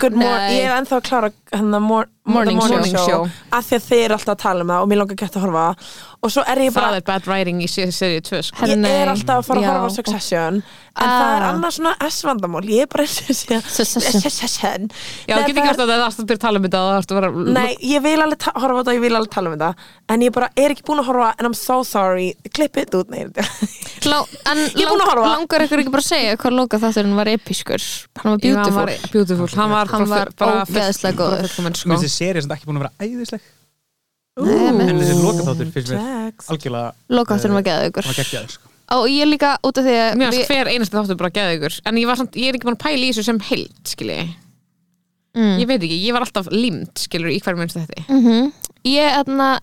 good mor, Nei. Ég er ennþá að klára hana, mor, Morning the Show. show af því að þið eru alltaf að tala um það og mér langar gett að horfa á það. og svo er ég það bara er bad writing í serið 2 sko. Herri, Ég nei. er alltaf að fara að Já. horfa á Succession en Ah. það er annars svona S-vandamál ég er bara eins og sé Succession. Succession já, Nei, það getur ekki er- alltaf að það er alltaf að byrja að tala um þetta og það er alltaf að vera Nei, ég vil alveg ta- horfa á þetta og ég vil alveg tala um þetta en ég bara er ekki búin að horfa en I'm so sorry Clip it út Nei, Lá, en Ég er búin að lang- horfa. langar ykkur ekki bara að segja hvað loka þátturinn var episkur hann var Jú, hann beautiful var beautiful, hann var, Hann var bara- bara- ógeðslega góður. bara fullkominn, Mér finnst sko. þessi serið sem ekki búin að vera æðisleg Nei, En þessi lokaþáttur finnst mér Jax. algjörlega loka þátturinn var geða ykkur Hann var geggjaður sko. og ég líka út af því að Mér finnst við- hver einasti þáttur bara að geða ykkur En ég, var samt, ég er ekki búin að pæla í þessu sem heild skilji, mm, ég veit ekki, ég var alltaf limt skilur í hverjum minnst þetta mhm. ég aðna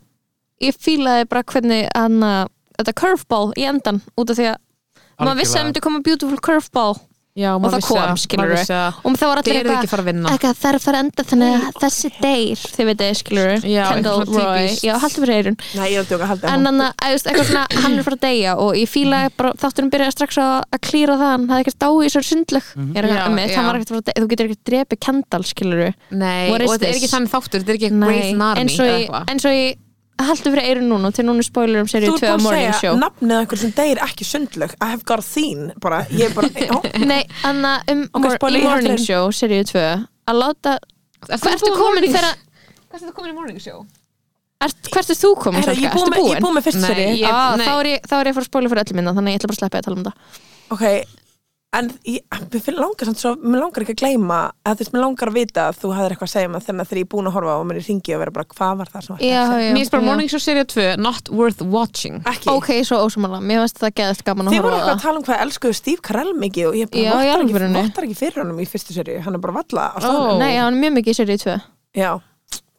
ég fílaði bara hvernig aðna þetta curveball í endan út af því að maður vissi að það myndi koma beautiful curveball Já, og það kom skilur við Það og það var allir er ekki að eitthvað fara að vinna eitthvað það er að fara að enda þannig að þessi deyr þið veit þið skilur Já, Kendall eitthvað svona Roy típist. já, haldur fyrir eirun ég er að djóka að halda hérna. en hann, að, veist, eitthvað svona, hann er frá að deyja og ég fíla bara, þátturinn byrjaði strax að, að klíra það hann hafði ekkert dáið í svo sundlög mm Já, -hmm. já. hann var ekkert frá að deyja, þú getur ekkert drepið kendal skiluru Nei, What og is þetta er this? ekki þannig þáttur Þetta er ekki Grey's Narmi eins og ég, eins og ég haldur fyrir eirun núna til núna er spoiler um Þú serið ert 2 á búin Morning að segja Show nafnið á einhver sem deyr ekki sundlög I have got a scene bara, ég er bara, ó, nei, Anna, um Ok, mor spoiler, í ég held Morning þeim. Show serið 2 að láta, hvað ertu komin þegar Hvað er þetta komin í morning show? ert- hvert er þú komin Herra, Salka, ég er búin ertu með, ég er búin? búin með fyrst Nei, séri ég- Ah, nei. þá er ég þá er ég að fara að spoila fyrir öllum minna þannig að ég ætla bara að sleppa því að tala um það ok, en ég, mér finn langar samt svo, mér langar ekki að gleyma eða þú veist, mér langar að vita að þú hafðir eitthvað að segja mér þannig að þegar ég er búin að horfa á og mér ringi og vera bara, hvað var það sem var já, já, Mér finnst bara já. morning show serið 2 Not worth watching ekki, ok, svo ósumanlega, mér finnst það geðast gaman að þið voru horfa á eitthvað það að tala um hvað elskuðu Steve Carell mikið og ég Já, bara í vottar ekki, alvörunni. vottar ekki fyrir honum í fyrstu séri hann er bara valla á Ó. staðnum Nei, hann er mjög mikið í serið 2 já,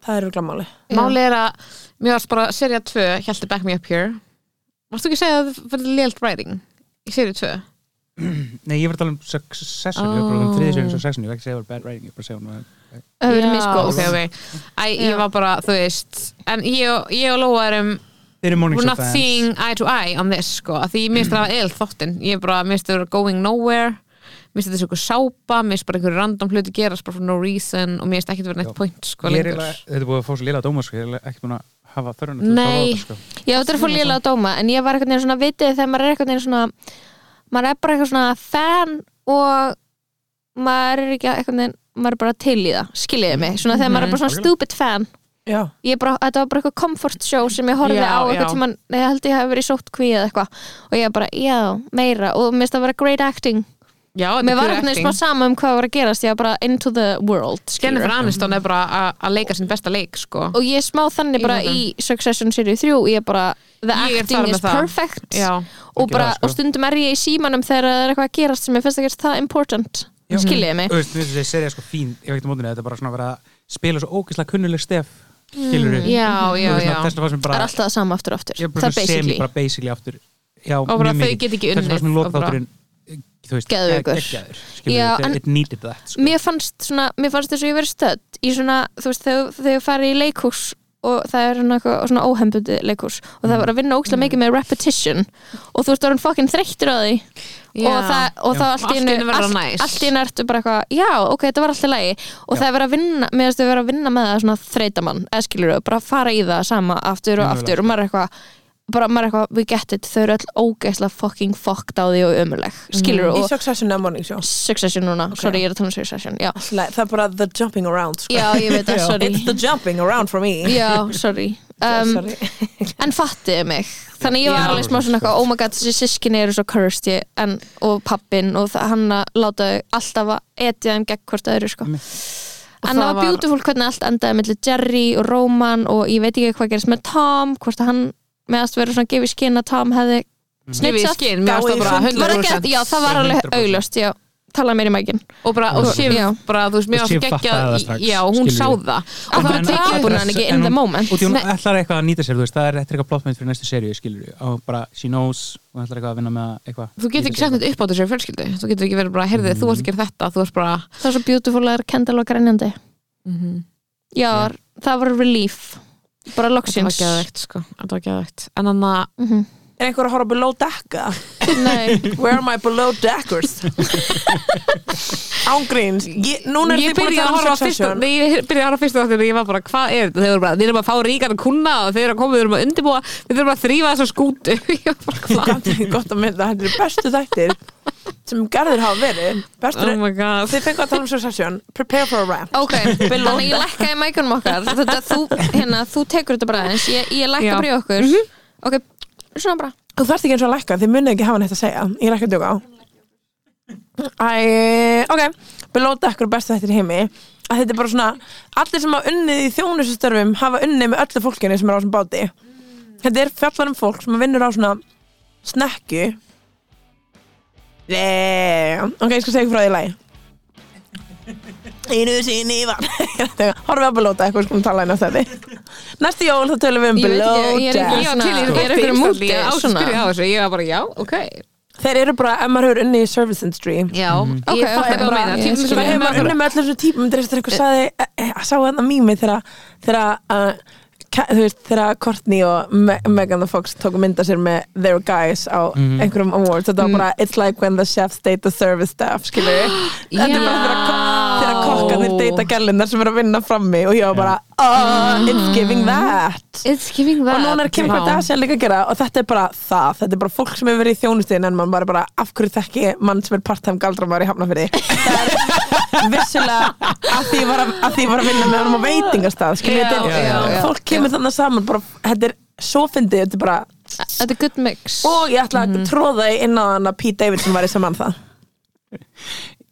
það eru glamáli Máli er að Mér varst bara serið 2 Hjælti Back Me Up Here Varstu ekki að segja að það fyrir lélt writing Í serið 2 Nei, ég var að tala um Succession Ég var bara um þriðisverðin Succession Ég var ekki að segja að það var bad writing Ég var bara að segja hún að Það verður Já, miskóð ok, ok. Æ, Já. ég var bara, þú veist en ég, og- ég og Lóa erum Þeir eru morning we're show not fans seeing eye to eye on this sko, að því mér finnst það eða þóttin ég er bara, mér finnst það vera going nowhere mér finnst þetta eitthvað sápa, mér finnst bara einhverju random hluti gerast bara for no reason og mér finnst ekki vera neitt Já. point sko Ég er lengur eiginlega Þetta er búið að fá svo lila dóma sko Ég er eiginlega ekki búin að sko. hafa þörun Nei. Mm-hmm. Já, þetta er fór lélega að dóma En ég var eitthvað neginn svona vitið þegar maður er eitthvað neginn svona Maður er bara eitthvað svona fan Og maður er ekki eitthvað neginn Maður er bara til í það, skiljiði mig Svona þegar maður er bara svona Algjörlega. stupid fan já, ég bara, Þetta var bara eitthvað comfort show sem ég horfði Já, á eitthvað já. tímann Ég held ég hafi verið sótt kví eða eitthvað Og ég bara, já, meira Og mér finnst það vera great acting Já, þetta Mér er var pure einhvern veginn acting. smá sama um hvað var að gerast Ég var bara into the world skilurðu. Jennifer Aniston er bara að- að leika sinn besta leik sko. Og ég er smá þannig Í bara þetta. í Succession Series 3 Ég er bara, the Ég er þar acting með is það. perfect Já, og, Ekki bara, það, sko. og stundum er ég í símanum þegar það er eitthvað að gerast sem ég finnst ekki það important Já. Skiljiði mig Þú veist, mér finnst þessi serið sko fín ég veit um mótinu, þetta er bara svona að vera að spila svo ógeðslega kunnuleg stef skilur við Mm, já, já, já. þess að fannst mér Það er bara alltaf það sama aftur og aftur ég er Það bara er svona semi basically bara basically aftur já, Og bara þau get ekki þess að fannst mér unnið og bara- lokþátturinn eh, þú veist, Geðveikur. geggjaður, skilur Já, en- við, it needed that Mm, sko. Mér fannst svona, mér fannst þess að ég verið stödd í svona, þú veist, þegar þegar ég farið í leikhús og það er svona, eitthvað- svona óhembundi leikhús og það var að vinna ógstlega mikið með repetition og þú veist, það var hann fucking þreyttur á því Já. og það, og Já. það allt í einu verður það næs. allt, allt í einu ertu bara eitthvað, já, ok, þetta var alltaf lægi og það er verið að vinna, mér finnst þau verið að vinna með það svona þreytamann, eða skilur þau, bara fara í það sama aftur og Mögulega. aftur og maður er eitthvað bara maður er eitthvað, we get it, þau eru öll ógeðslega fucking fucked á því og ömuleg skilur í og Succession eða Morning Show Succession núna, sorry ég er að tala um Succession já, það er bara the jumping around sko. já ég veit það, Já. sorry it's the jumping around for me já, sorry um, Sorry. en fattiði mig þannig ég var Já. alveg smá svona eitthvað, oh my god þessi sískinni eru svo cursed ég, en, og pappin og það- hann að láta þau alltaf að etja þeim gegn hvort öðru sko. en Einmitt. það það var var- beautiful hvernig allt endaði millir Jerry og Roman og ég veit ekki hvað gerist með Tom hvort að hann meðast verið svona gefið skinn að Tom hefði Mm. Snifið í snitsað skinn, mér varst það bara Gáið í Var það gert? 100% já, það var alveg 100%. augljóst, já talaði mér í mækin og bara, og Sif, Já. bara, þú veist, mér Og varst Sif fattaði það geggja strax, já, og hún skilur sá við. En það og það það var var en- tekið tekið búin hann ekki en in the hún- moment og því hún Nei, ætlar eitthvað að nýta sér, þú veist, það er þetta er eitthvað plottmynd fyrir næstu seríu, skilur við, og bara she knows, og ætlar eitthvað að vinna með eitthvað þú getur ekki sagt þetta upp á þessu fjölskyldu þú getur ekki verið bara, heyrði, þú varst að gera þetta þú varst bara, það var svo beautiful að er kendal og grænjandi Mm-hmm. já, það var relief bara þetta var loksins geðveikt, sko þetta var geðveikt, en hann að Mhm. er einhver að horfa below decka Nei, where are my below deckers ángríns Ég- núna er ég þið búin að byrjaði að tala horfa um á fyrstu Succession nei, ég byrjaði að horfa á fyrstu þáttir og ég var bara, hvað er þetta, þeir eru bara, þeir eru bara að fá ríkan kuna og þeir eru að koma, þeir eru bara að undirbúa við þurfum að þrýfa þessa skútu Ég var bara, þú hvað? gæti ekki gott að mynda þetta eru bestu þættir sem gerðir hafa verið bestur oh my god þið fengu að tala um Succession prepare for a rap ok, þannig að ég lækka í mækunum okkar þetta, þú, hérna, þú tekur þetta bara aðeins ég, ég Já. lækka bara í okkur ok, svona bara þú þarft ekki eins og að lækka þið munið ekki hafa neitt að segja ég er ekki að djóka á Æ, ok below decker bestu þættir í heimi að þetta er bara svona allir sem hafa unnið í þjónustustörfum hafa unnið með öllu fólkinu sem er á þessum báti þetta er fjallar um fólk sem vinnur á svona snekju yeah. ok, ég skal segja ykkur frá því í lagi einu sinni var horfum við að belóta eitthvað skoðum tala einu á þetta næstu jól þá tölum við um Ég veit ekki, ég er belóta ekki- Já, til í Svona- þetta er einhverjum Íslandi, múti, ég á- svona? spyrja á þessu, ég var bara já, ok þeir eru bara, ef maður hefur unni í service industry Já, Ok, ég fatt ok, ekki að bara- meina ég Eh, Til skil. þess það að hefur maður unni með allir þessum típum þeir eftir eitthvað saði, e, e, sá hann að mými þegar þegar uh, Ka- þú veist, þegar Courtney og Me Megan the Fox tóku mynda sér með their guys á einhverjum awards þetta Mm. var bara, it's like when the chefs date the service staff skilur við, þetta er bara þegar ko- þegar kokkanir data gælinnar sem eru að vinna frammi og ég var bara, oh, it's giving that it's giving og núna er Kim Já. Kardashian líka að gera og þetta er bara það, þetta er bara fólk sem hefur verið í þjónustin en mann bara bara, af hverju þekki ég mann sem er part-time galdramæður í Hafnafyrði það er vissulega að því ég var að, að, því ég var að vinna með honum á veitingastað skilur, Já, þetta já, er, já. fólk kemur þannig saman bara, þetta er svo fyndið, þetta er bara þetta er good mix og ég ætla að tróða í inn á hann að Pete Davidson var í saman um það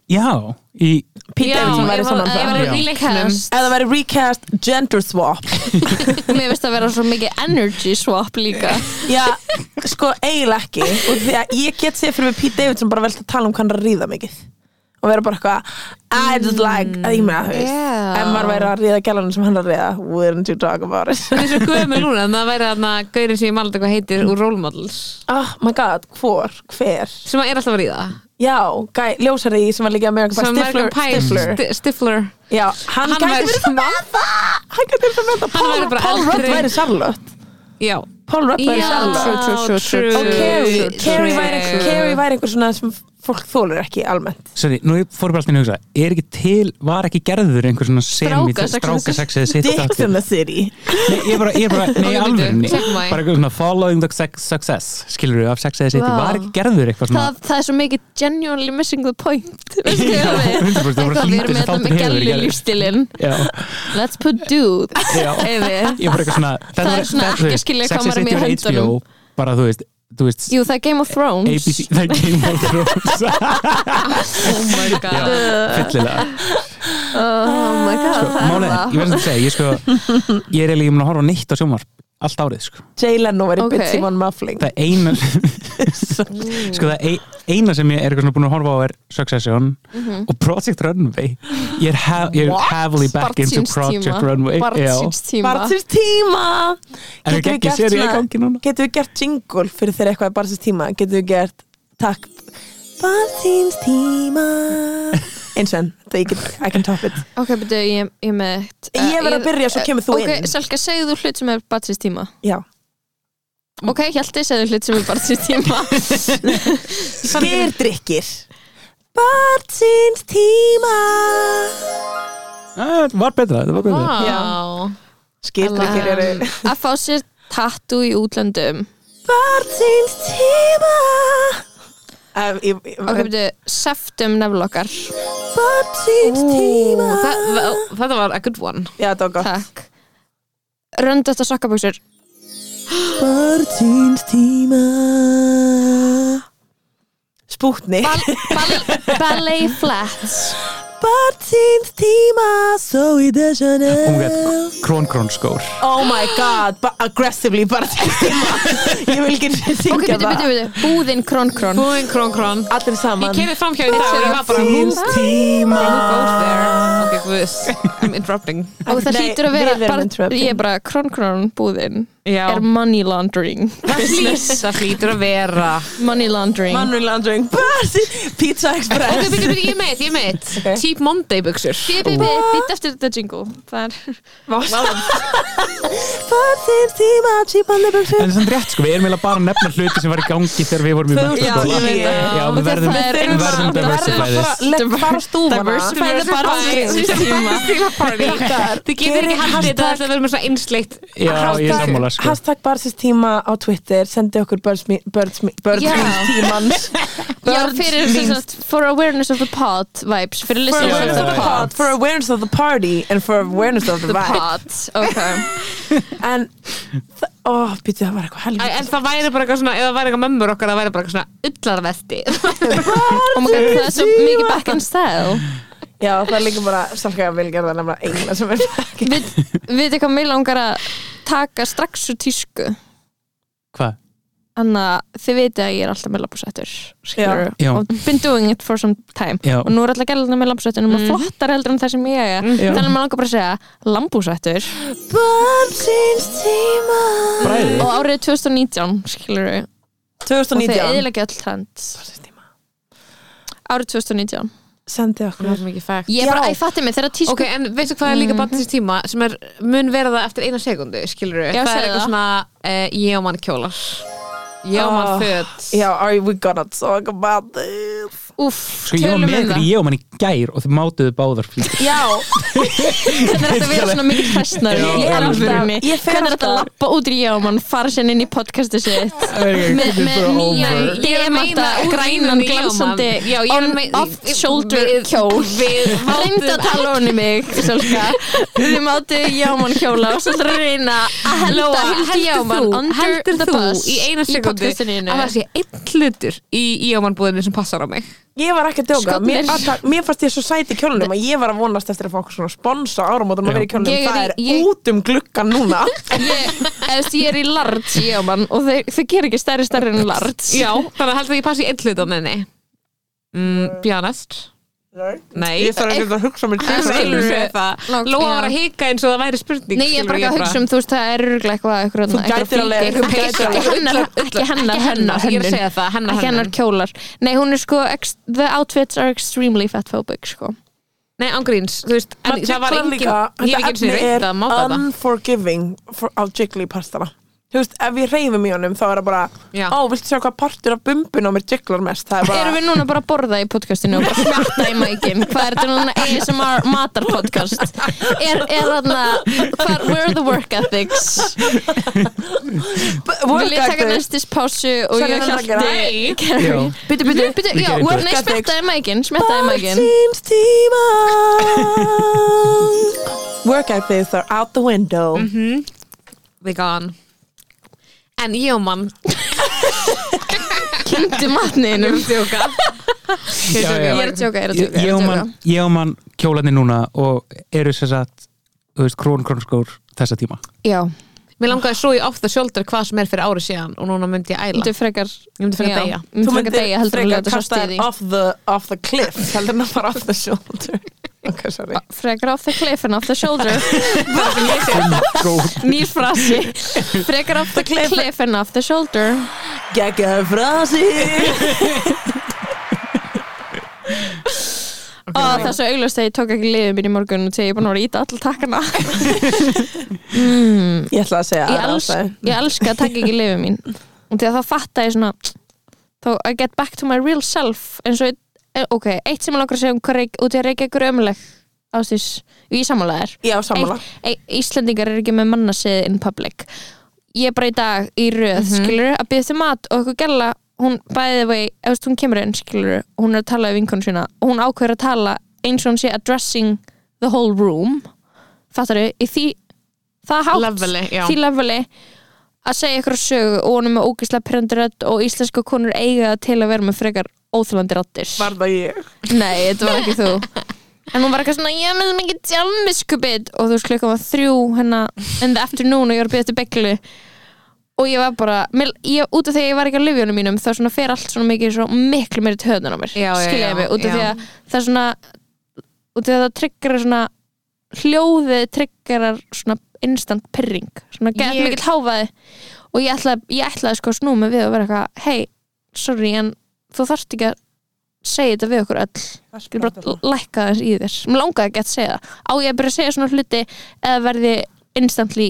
Já, í, Pete Já, Davidson var ég í var- saman um ég það var Já. í leiknum ef það væri recast gender swap mér finnst að vera svo mikið energy swap líka já, sko eiginlega ekki og því að ég get séð fyrir mig Pete Davidson bara velst að tala um hvað hann er að ríða mikið og vera bara eitthvað I Mm, just like, að ég meina, þú veist yeah. ef maður væri að ríða gælanum sem hann er að ríða wouldn't you talk about it Þessu gömur núna, þannig að það væri þarna Gaurið sem ég mann eitthvað heitir úr role models oh my god, hvor, hver Sem er alltaf að ríða já, gæ, ljósari í sem var líka American Pie, Sem American Stifler, Pie, Stifler. Sti- Stifler já, hann, Hann hann gæti væri verið það með það hann gæti verið það með það Hann væri Paul, bara Paul Rudd eldri. væri Charlotte Já, Paul Rudd væri Já, Charlotte true, true, true, og Carrie, True, Carrie væri true. Carrie væri einhver svona sem fólk þólar ekki almennt sorry, nú ég fór bara alltaf inn að hugsa er ekki til, var ekki gerður einhver svona sem í Stráka- strákasex eða sitt Dicks in the City Nei, ég bara, ég bara, nei, Ok, alvörni bíddu, check my- bara eitthvað svona following the sex, success skilur við af sex eða sitt, Vá. var ekki gerður eitthvað svona það, það er svo mikið genuinely missing the point veistu hvað Já, ég 100% við það eitthvað við var svo erum lítið með sem þetta með þátturinn hefur verið gælu gerður. lífstilinn já, let's put dude já, Eyvi. ég bara eitthvað svona Það er svona ekki að skilja hvað maður er með höndunum. bara þú veist, þú veist Jú, það er Game of Thrones ABC, það er Game of Thrones Oh my god fyllilega Oh my god, sko, það málið, er er- það ég verðist að segja, ég sko ég er eiginlega, ég mun að horfa á neitt á sjónvarp allt árið, sko, Jay Leno verið Ok. okay. Bitsy Von Muffling það eina sko, það ei- eina sem ég er eitthvað svona búin að horfa á er Succession og Project Runway ég er, ha ég er What? heavily back into Barnsins Project tíma. Runway já. Barnsins tíma Barnsins tíma Getum en við við geggja gert séri í svona- gangi núna Getum við gert jingle fyrir þeirra eitthvað er Barnsins tíma Getum við gert takk Barnsins tíma Eins og enn, það ég get, I can top it Ok, betur, ég, ég er með eitt Eh, Ég verð að byrja, svo kemur þú Ok, inn. Selka, segðu þú hlut sem er barnsins tíma Já Mm. Ok, Hjalti, segðu hlut sem er barnsins tíma Skyrdrykkir Barnsins tíma Ah, það var betra, það var betra Já. Skyrdrykkir Um, eru Að fá sér tattu í útlöndum Barnsins tíma Ef- ég- ég- Ok, betur, seftum neflokkar Barnsins tíma Það- Þetta var a good one Já, það var gott Takk Röndast að sokkaböksur Barnsins tíma Spútni Ballet flats Barnsins tíma Svo í desjana Oh Ómgætt, krón-krón skór Oh my god, ba aggressively Barnsins tíma Ég vil ekki Ok, syngja betur, það betur, betur, búðin krón krón Búin krón krón Allir Ég saman keiri fram hjá í dag og ég var bara Who Barnsins tíma goes there? Ok, guðs I'm interrupting Og það Nei, hlýtur að við vera erum bara, interrupting. Ég er bara krón krón búðin Já Er money laundering Það hlýtur- það hlýtur að vera Money laundering Manri Landring Barnsins Pizza Ok, Express byrju, byrju, ég er meitt, ég er meitt Ok. Cheap Monday buksur Bibi, bibi, bitt eftir þetta jingle Það er Barnsins tíma Típan er En buksur það er rétt sko, við erum eiginlega bara að nefna hluti sem var í gangi þegar við vorum í Þau- menntaskóla Já, ég veit það. Já, við Og verðum, það er- við verðum Við verðum að diversify fara this Let fara stúfana Diversify the barnsins tíma. Þið getur ekki haldið þetta að verðum svo einsleitt Já, ég er Hashtag- sammála sko Hashtag barnsins tíma á Twitter sendi okkur börnsmi- börnsmi- börnsins Já. tímans Já, fyrir sem Means- sagt, For awareness of the pod vibes For Fyrir listening awareness of of the the pod, for awareness of the party and for awareness of the vibe pod Ok en, þa- ó, býttu, það var eitthvað En helvítið það væri bara eitthvað svona, ef það væri eitthvað mömmur okkar það væri bara eitthvað svona ullarvesti Oh my god, það er svo mikið back in style já, það er líka bara sálkæða vilgerða nefna eina sem er ekki Við veit hvað mig langar að taka strax úr tísku Hvað? Þannig að þið veitir að ég er alltaf með labbúsettur Já. og been doing it for some time Já. og nú er alltaf gælna með labbúsettur og maður flottar heldur en það sem ég er þannig að maður langar bara að segja labbúsettur barnsins tíma Bræði og árið 2019 skilur við og þið 2019 eðilegja all trend Barnsins tíma. árið 2019 sendi Það er Mhm. okkur sem ekki fægt ég Já. bara, ég fatti mig þegar tísku Ok, en veistu hvað er líka barnsins tíma sem er, mun vera það eftir eina sekundu, skilur við Já, Það er segðu eitthvað það. svona, uh, ég á mann kjólar Ég á mann Ah. föt já, are we gonna talk about this Úff, Sko ég tölum var með um ykkur það í ég og mann í gær og þið mátuðu báðar flýtur já, hvernig er þetta að vera svona mikið hressnar Já, ég er alveg. alltaf hvernig Ég fer er þetta að alltaf- lappa út í já og mann fara sér inn í podcasti sitt með, með nýja Ég Ég er að DM meina alltaf úr grænan línunni í glansandi Jóman. Já, ég er að on- meina- off shoulder Við- kjól við reyndu að tala honni mig Sölka við mátu jámann kjóla og svolítið að reyna að henda Lóa, Hildi Jámann heldur under þú, heldur the þú bus í eina sekundu podcastinu þínu? að það sé einn hlutur í íjámanbúðinu sem passar á mig ég var ekki að djóka Skollur. mér, aðtak- mér fannst ég svo sæti í kjólunum að ég var að vonast eftir að fá okkur svona sponsa áramótum að vera í Ég kjólunum er í- það er ég- út um gluggan núna ég, eðst, ég er í large jámann og þau, þau gerir ekki stærri stærri en large Já, þannig að heldur að ég passi í einn hlut á meðinni mm, Be honest Nei, ég þarf ekki að hugsa mér Það tvisvar skilur um. við það Langt- Lóa já. var að hika eins og það væri spurning Nei, ég er bara ekki að hugsa um, þú veist, það er örgulega eitthvað eitthvað Þú gætir alveg- þú ekki, gætir ekki alveg- hennar, ekki hennar, hennar, Ég er að hennar segja það, hennar, ekki hennar kjólar Nei, hún er sko, ex, the outfits are extremely fatphobic sko. Nei, ángríns, þú veist en Maður Það var jigglar engin, líka, ég hef ekki eins og þetta reynd að efni er máta um- það unforgiving for, á jigglypastana þú veist, ef ég reyfum í honum þá er það bara Já. ó, viltu sjá hvað partur af bumbun á mér jigglar mest það er bara, Erum við núna bara að borða í podcastinu og bara smerta í mækin? Hvað er þetta núna ASMR matarpodcast? Er, er þarna, hvað, where are the work ethics? B- Vil ég taka workout næstis pásu og Sannlega ég það hjalti Nei, Já. Byttu, byttu, byttu, Við já, gerum where- nei, work smerta ethics. í mækin, smerta í mækin Barnsins tíma workout days are out the Mhm. window vegan En ég og mann undir matniðinu Ég er að djóka. Já, já. Ég er að tjóka, ég er að Ég- tjóka, ég ég og er að mann- tjóka. ég og mann kjólarnir núna og eru sér satt þú veist, krón krónskór þessa tíma Já, Mér langaði svo í ofta sjóldur hvað sem er fyrir ári síðan og núna myndi ég æla myndi frekar Ég myndi frekar já, deyja. Myndi frekar deyja heldur en að ljóta svo kasta stíði þér off the, off the cliff heldur en að fara off the shoulder ok, Ah, sorry Frekar off the cliff and off the shoulder Nýr frasi Frekar off the cliff. cliff and off the shoulder geggjaðu frasi Og það er svo auglust að ég tók ekki liðið mín í morgun og þegar ég er búin að vera að íta all takkana mm, ég ætla að segja ég, aðra els, ástæðu. ég elska að taka ekki liðið mín og því að þá fatta ég svona þá I get back to my real self eins og, eh, ok, eitt sem ég langar að segja um hvað reik, út í að reykja ykkur ömuleg ástís, ég sammála þér já, sammála Ei- Íslendingar eru ekki með mannasið in public ég er bara í dag í röð skilur, að byrja þið mat og eitthvað gæla hún bæði vei, ef þú veist, hún kemur inn skilur, hún er að tala við vinkonu sína og hún ákveður að tala eins og hún sé addressing the whole room fattar þau, í því það hátt, Leveli, já. því leveli að segja ykkur sögu og hún er með ógislega prendirödd og íslenska konur eiga það til að vera með frekar óþjólandi rattir var það ég Nei, þetta var ekki þú En hún var eitthvað svona, ég er með mikið tjálmiskubið Og þú veist, klukkan var þrjú hérna In the afternoon og ég var að byrja eftir beglu Og ég var bara mér, ég, Út af því að ég var ekki á lifjónum mínum Þá svona fer allt svona mikið svo miklu meiri töðun á mér Já, já, Skiljaði já, mig, út af því já. að það er svona Út af því að það tryggar svona Hljóðið tryggarar svona instant pyrring Svona gett Ég- mikill háfaði Og ég ætlaði, ég ætlaði sko að snúa mig við og vera eitthvað Hei, sorry, en þú þarft ekki að segja þetta við okkur öll Ég bara lækka þess í þér Mér langaði ekki að segja það Á ég að byrja að segja svona hluti eða verði instantly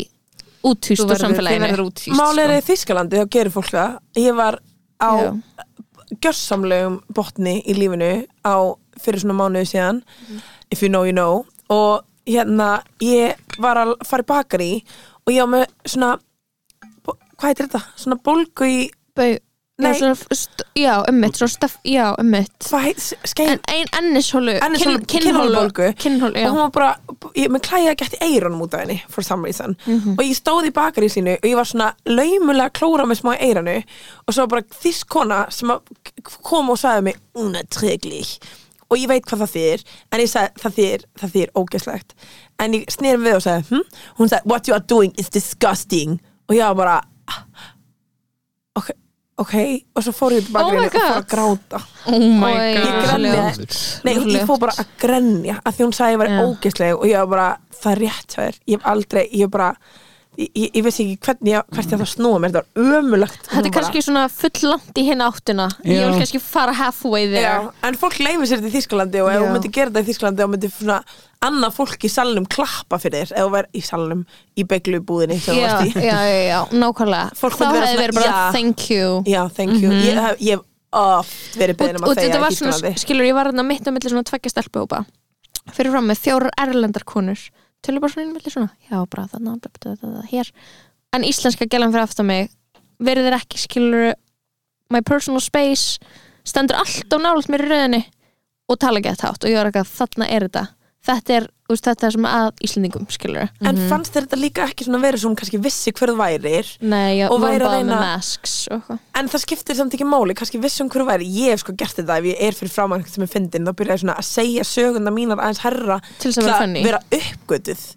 útýst úr samfélaginu verður útfýst mál er í Þískalandi, þá gerir fólk það ég var á sko. Já. gjörsamlegum botni í lífinu á fyrir svona mánuði síðan if you know you know og hérna ég var að fara í bakari og ég á með svona bo- hvað heitir þetta? Svona bólgu í Bau- Nei. Já, svona st- Já, um ummitt Svo staff, já, ummitt hvað heit, skein En ein ennishólu Ennishólu- kinnhólubólgu. Kinnhólu, já og hún var bara, ég, mér klæði að geta eirunum út af henni for some reason Mhm. og ég stóð í bakari sínu og ég var svona laumulega að klóra með smá í eiranu og svo var bara þess kona sem að kom og sagði mig una treglig og ég veit hvað það þýr en ég sagði það þýr, það þýr ógeðslegt en ég snýrum við og sagði hm? hún sagði what you are doing is disgusting og ég var bara "Ah, ok, ok og svo fór ég til Oh bakari my og fór God. að gráta Oh my Oj, god ég grenjaði Nei, ég fór bara að grenja að því hún sagði að ég Já. var ógeðsleg og ég var bara, það er rétt hjá þér ég hef aldrei, ég hef bara ég, ég, ég veist ekki hvernig ég, hvert ég ætla að snúa mér þetta var ömulegt Þetta er kannski svona full langt í hinn áttina Ég Já. vil kannski fara halfway Já, there en fólk leifir sér þetta í Þískalandi og ef Já. þú myndir gera þetta í Þískalandi þá myndir svona annað fólk í salnum klappa fyrir þér ef þú verð í salnum í beglubúðinni sem þú Já, varst í já, já, já, nákvæmlega Fólk Þá myndi vera hefði svona, verið bara já. thank you Já, thank you ég, hef, ég hef oft verið beðin um og að Mhm. þetta þegja var í svona, Þískalandi skilur, ég var þarna mitt á milli svona tveggja stelpuhópa fyrir fram með fjórar erlendar konur tölur bara svona inn á milli svona já, bara þarna, bla, bla, bla, bla, hér en íslenska gælan fyrir aftan mig verður ekki, skilur my personal space stendur alltaf nálægt mér í rauninni og tala ekki að þátt og ég var ekki að þarna er þetta þetta er, þú veist, þetta er sem að Íslendingum, skilur En fannst þér þetta líka ekki svona verið svona kannski vissi hver þú værir Nei, já, Og við væri vorum að bara með reyna- masks og eitthvað En það skiptir samt ekki máli, kannski vissum hverju væri Ég hef sko gert þetta ef ég er fyrir framann sem er fyndin, þá byrja ég svona að segja söguna mínar aðeins herra Til þess að vera funny. vera uppgötuð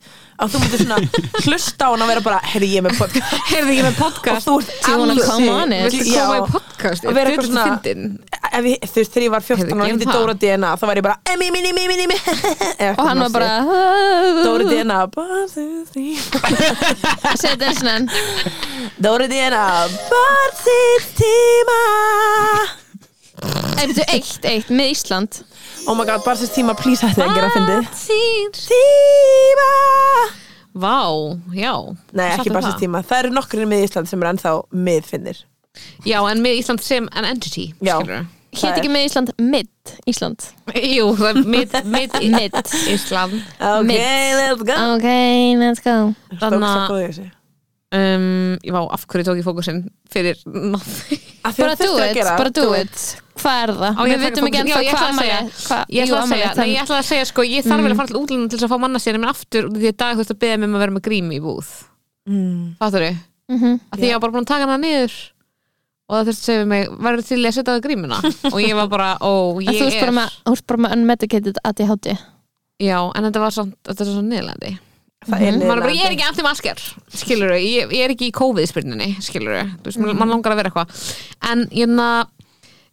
að þú myndir svona hlusta á hann að vera bara heyrðu ég er með podcast Heyrðu ég og með podcast þú ert Do you wanna come on it? Viltu koma í podcast? Og vera Þetta eitthvað er svona- fyndin. ef ég, þú veist þegar ég var 14 Heyrðu, og gerum hindi það. Dóra DNA þá var ég bara emi, emi, emi, emi, emi og hann var bara Dóra DNA bara, þú veist, Segðu þetta svona Dóra DNA bara þitt tíma Eitt, eitt, eitt, með Ísland Oh my god, bara þitt tíma, please hætti að gera fyndið Þýr Tíma Vá, já Nei, Sattu ekki það. bara þess tíma. Það eru nokkur með Ísland sem eru ennþá miðfinnir. Já, en með Ísland sem an entity Já. skilurðu. Hétt ekki með Ísland, mid Ísland Jú, það er mid, mid, mid Ísland Ok, Mitt. let's go. Ok, let's go Þannig Þannig að... að um, Ég vá, af hverju tók ég fókusinn fyrir nothing Bara do it, bara do it Hvað er það? Á, ég Við að taka vitum ekki fókusinn? ennþá hvað Já, ég ætla að ammali segja. hvað- Ég jú, ætla að afmæli segja, er nei, þann- ég ætla að segja sko, ég Mm. þarf vel að fara til útlunum til þess að fá manna sér minn aftur út af því að í dag þú veist að beða mér um að vera með grím í búð Mm. Fattur þau? Mhm. Því ég var bara búin að taka hana niður og það þurfti að segja við mig, verður til í að setja á það grímuna og ég var bara, ó, En ég þú veist er bara með, þú veist bara með unmedicated ADHD já, en þetta var samt, þetta er svo niðurlandi það Mhm. er maður er bara, niðurlægjandi. ég er ekki anti masker skilur þau, ég, ég er ekki í COVID-spyrninni skilur þau, mm. mann langar að vera eitthvað en hérna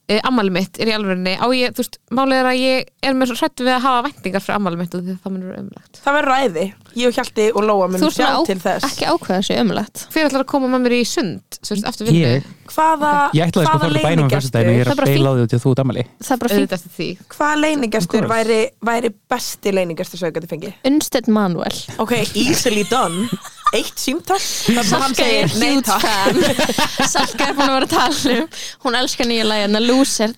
e, ammali mitt er í alvörinni á ég, þú veist, málið er að ég er með svo hrættu við að hafa vendingar fyrir ammali mitt og því að það munur umlegt Það verður ræði, ég og Hjalti og Lóa Þú munum veist sjá svona á, til þess ekki ákveða sér umlegt hver ætlar að koma með mér í sund sem sagt, eftir vinnu, Ég, Hvaða, ég ætlaði sko að hvaða fara til bænum á föstudaginu og ég leinigestur er Það er að bara beila á því út í að þú ert ammali Það er bara fínt auðvitað eftir því Hvaða leinigestur Of course. væri, væri besti leinigestur sem ég geti fengið? Unstead Manuel Ok, easily done Eitt símtall þar sem hann segir nei huge takk fan Salka er búin að vera að tala um Hún elskar nýja lægina hennar Loser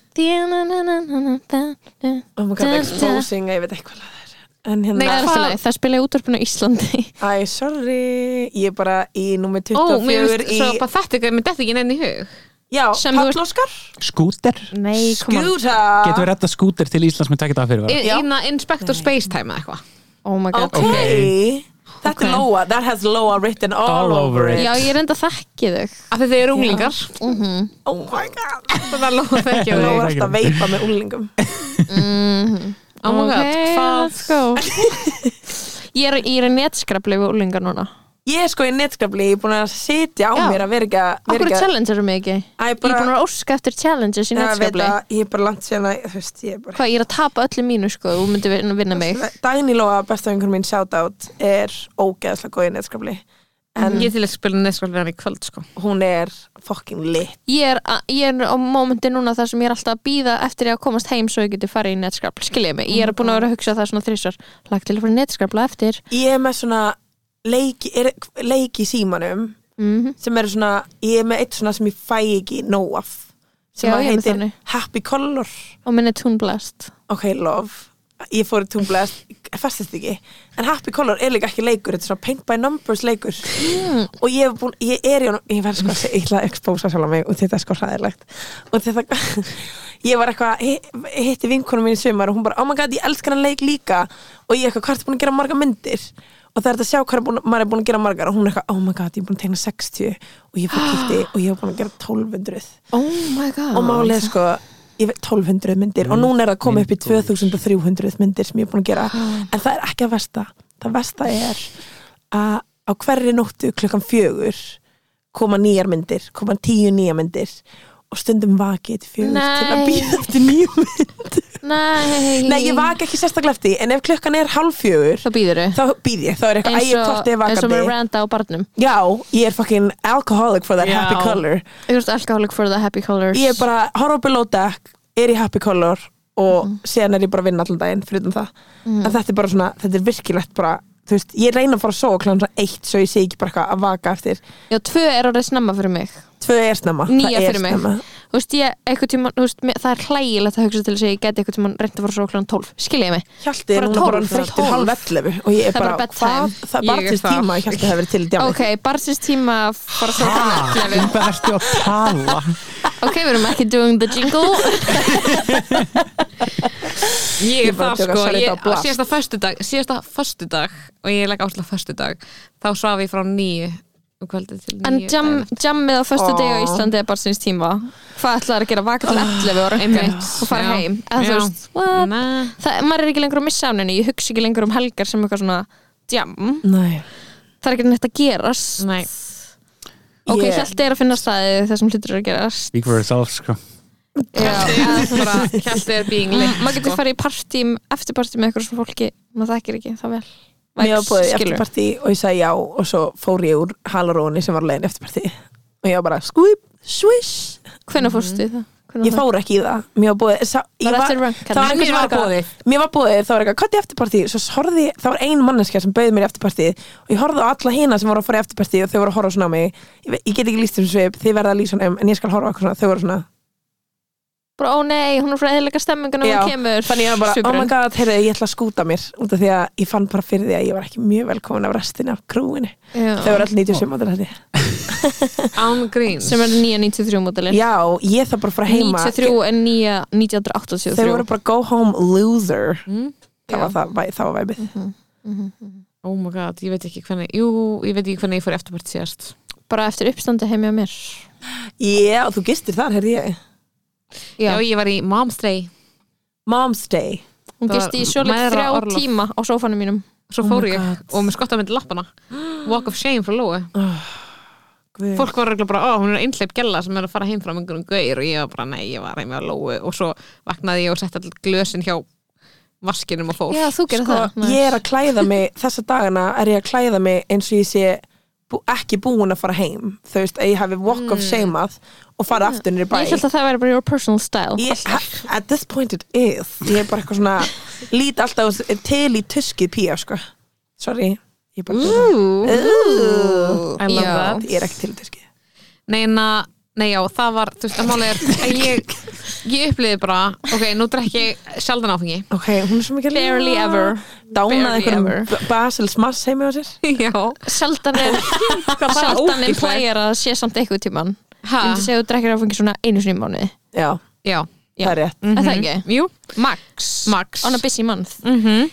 Oh my god, Það exposing, ég veit eitthvað hvað það er En hérna, er ekki læg, það spila í útvarpinu á Íslandi æ, sorry Ég er bara í númer ó, 24 mér finnst, í, svo bara þetta ekki, mér detti ekki neinn í hug Já, sem þú- Pallóskar Skúter? Nei, koma Getum Skjúta við retta skúter til Íslands með takkit af fyrir In- Já. inna Inspector Spacetime eða eitthvað Oh my god Ok Þetta er Ok. Lóa, that has Lóa written all, All over over it Já, ég reynda að þekki þau af því þið eru unglingar Oh my god það er lóð Lóa þekki er þau alltaf að veipa með úlingum oh my god, hvað let's go Ég er, ég er að netskrapla yfir úlingar núna Ég er sko í netskapli, ég er búin að sitja á Já. mér að vera ekki að vera Akkur ekki að- challenge eru mig ekki Ég Æ, er búin að vera að óska eftir challenges í Já, ég veit netskapli að Ég er bara langt síðan að, þú veist, ég er bara Hvað, ég er að tapa öllu mínu sko Þú myndir vinna- vinna mig Dagný Lóa, besta vingur mín, shoutout er ógeðslega góð í netskapli En Mm. ég er til að spila neskvöldverðan í kvöld sko. hún er fucking lit ég er, að- ég er á mómenti núna þar sem ég er alltaf að býða eftir ég að komast heim svo ég geti farið í netskapl skiljið mig, ég er búin að vera að hugsa það svona þrísvar lagt til að fara í netskapla eftir Ég er með svona leiki, er, leiki í símanum Mhm. sem eru svona, ég er með eitt svona sem ég fæ ekki nóg af sem Já, að ég er með heitir þannig. Happy Color og minni túnblast ok, love ég fór í túnblast, festist ekki en Happy Color er líka ekki leikur þetta er svona paint by numbers leikur og ég, hef búin, ég er í honum ég verð sko að segja, ég ætla að expósa sjálf mig og þetta er sko hræðilegt og þetta, ég var eitthvað hi- hitti vinkonum mín í sumar og hún bara oh my god, ég elskar hann leik líka og ég eitthvað, hvað ertu búin að gera marga myndir og það er þetta að sjá hvað er búin, maður er búin að gera margar og hún er eitthvað, oh my god, ég er búin að tegna 60 og ég fyrir kýtti og ég er búin að gera 1200 oh my god og málið er sko ég veit, 1200 myndir og núna er það komið upp í 2300 myndir sem ég er búin að gera en það er ekki að versta það versta er að á hverri nóttu klukkan fjögur koma nýjar myndir, koma tíu nýjar myndir og stundum vakið til fjögur til Nei. að býða eftir nýju mynd nei, Nei, ég vaki ekki sérstaklega eftir því, en ef klukkan er hálf fjögur þá býður þau þá býð ég, þá er eitthvað ægir kortið eins og vakandi Miranda á barnum Já, ég er fucking alcoholic for that Já. happy color ég veist alcoholic for the happy colors ég er bara horfa á below deck er í happy color og Mhm. síðan er ég bara að vinna allan daginn fyrir utan það en þetta er bara svona, þetta er virkilegt bara þú veist, ég reyna að fara að sofa kláðan svona eitt svo ég sé ekki bara eitthvað að vaka eftir já, tvö er orðið snemma fyrir mig tvö er snemma, Níu það er fyrir mig. snemma þú veist, ég, einhvern tímann, þú veist, mér- það er hlægilegt að hugsa til þess að ég geti einhvern tímann reynd að fara svo klán 12 skiljiði mig Hjalti er Bara núna bara tólf, þreyttur tólf. halv 11 og ég er Það er bara, bara bedtime. hvað, það er bara Ég er til þar. tíma að Hjalti hefur verið til í djáni ok, barsins tíma að fara svo klán 11 Um Hvað ertu að tala? ok, við erum ekki doing the jingle ég Ég er bara það tjóka, sko sorry, ég, þetta var blast. síðasta föstudag, síðasta föstudag og ég legg ásla föstudag þá svaf ég frá nýju um kvöldið til En nýju jam, jammið á föstu degi á Ó. Íslandi er bara sinns tíma Hvað ætlaðar að gera vaka til 11 og röngu og fara heim Eða þú veist, what? Nei, Það, maður er ekki lengur að missa af henni ég hugsa ekki lengur um helgar sem eitthvað svona jam, Nei, það er ekki neitt að gerast nei. ok, Ég- yeah. hjalti er að finna staði þar sem hlutur eru að gerast Speak for yourself, sko Já. Kjaldi er being lit Mm, maður getur sko. farið í partím, eftirpartím með eitthvað svona fólki, maður þekkir ekki það vel mér var búið skilur. eftirparti og ég sagði já og svo fór ég úr halaróni sem var leiðin eftirparti og ég var bara skvip, swish hvenær fórstu í það? Hvenær ég fór ekki í það mér var búið sá, ég Var eftir rank, það var hérna? einhver sem Mér var var boðið. eitthvað mér var búið það var eitthvað hvað er eftirpartið svo horfði það var ein manneskja sem bauði mér eftirpartið og ég horfði á alla hina sem voru að fara í eftirpartið og þau voru að horfa svona á mig ég, ve- ég get ekki líst um svip þið verða að lýsa um en ég skal horfa á eitthvað svona þau voru svona bara, ó nei, hún er frá eðilega stemmingun og Já, hún kemur þannig ég var bara oh my Svipurinn. god heyrðu ég ætla að skúta mér út af því að ég fann bara fyrir því að ég var ekki mjög velkomin af restin af krúinu Já. þau voru all 97 mótil þetta Án grín sem er 993 mótilin já ég þarf bara að fara heima 93 en 9, þau voru 1983 bara go home loser Mm, það var já. það, væ- það var væpið Oh my god, ég veit ekki hvernig Jú, ég veit ekki hvernig ég fór í eftirparti síðast bara eftir uppstandi heim hjá mér Já, þú gistir þar, herði ég Já, Já, ég var í Momstray Mom's Day hún það var gisti í svolít mæðra þrjá orlof. tíma á sófanum mínum Svo fór ég og með skottamindi lappana Walk of shame frá Lóu Guð. Fólk var regla bara, ó, hún er einhleip gella sem er að fara heim frá einhverjum gaur og ég var bara, nei, ég var heim á Lóu og svo vaknaði ég og setti all glösin hjá vaskinum og fór Já, þú gerir sko, það Ég er að klæða mig, þessa dagana er ég að klæða mig eins og ég sé bú, ekki búin að fara heim Þú veist, að ég hafi walk Mm. of shame að og fara aftur nýri bæ Ég held að það væri bara your personal style Ég, at this point it is Ég er bara eitthvað svona Lít alltaf á- til í tuskið pía sko. Sorry Ég, er bara, Ooh. I love Já. that. ég er ekki til í tuskið Nei, en að, nei, já, það var, þú veist, að máli er að ég, ég upplýði bara ok, nú drekk ég sjaldan áfengi Ok, hún er svo mikið Barely ever. Dánað Barely ever. einhverjum B- Basils mass heimi á sér Já, Sjaldan er Sjaldan implæjar að sé samt eitthvað tíman ha, Ég myndi segja að þú drekkir áfengi svona einu sinni í mánuði Já, já Mm, það er rétt Er það ekki? Jú, Max Max On a busy month mm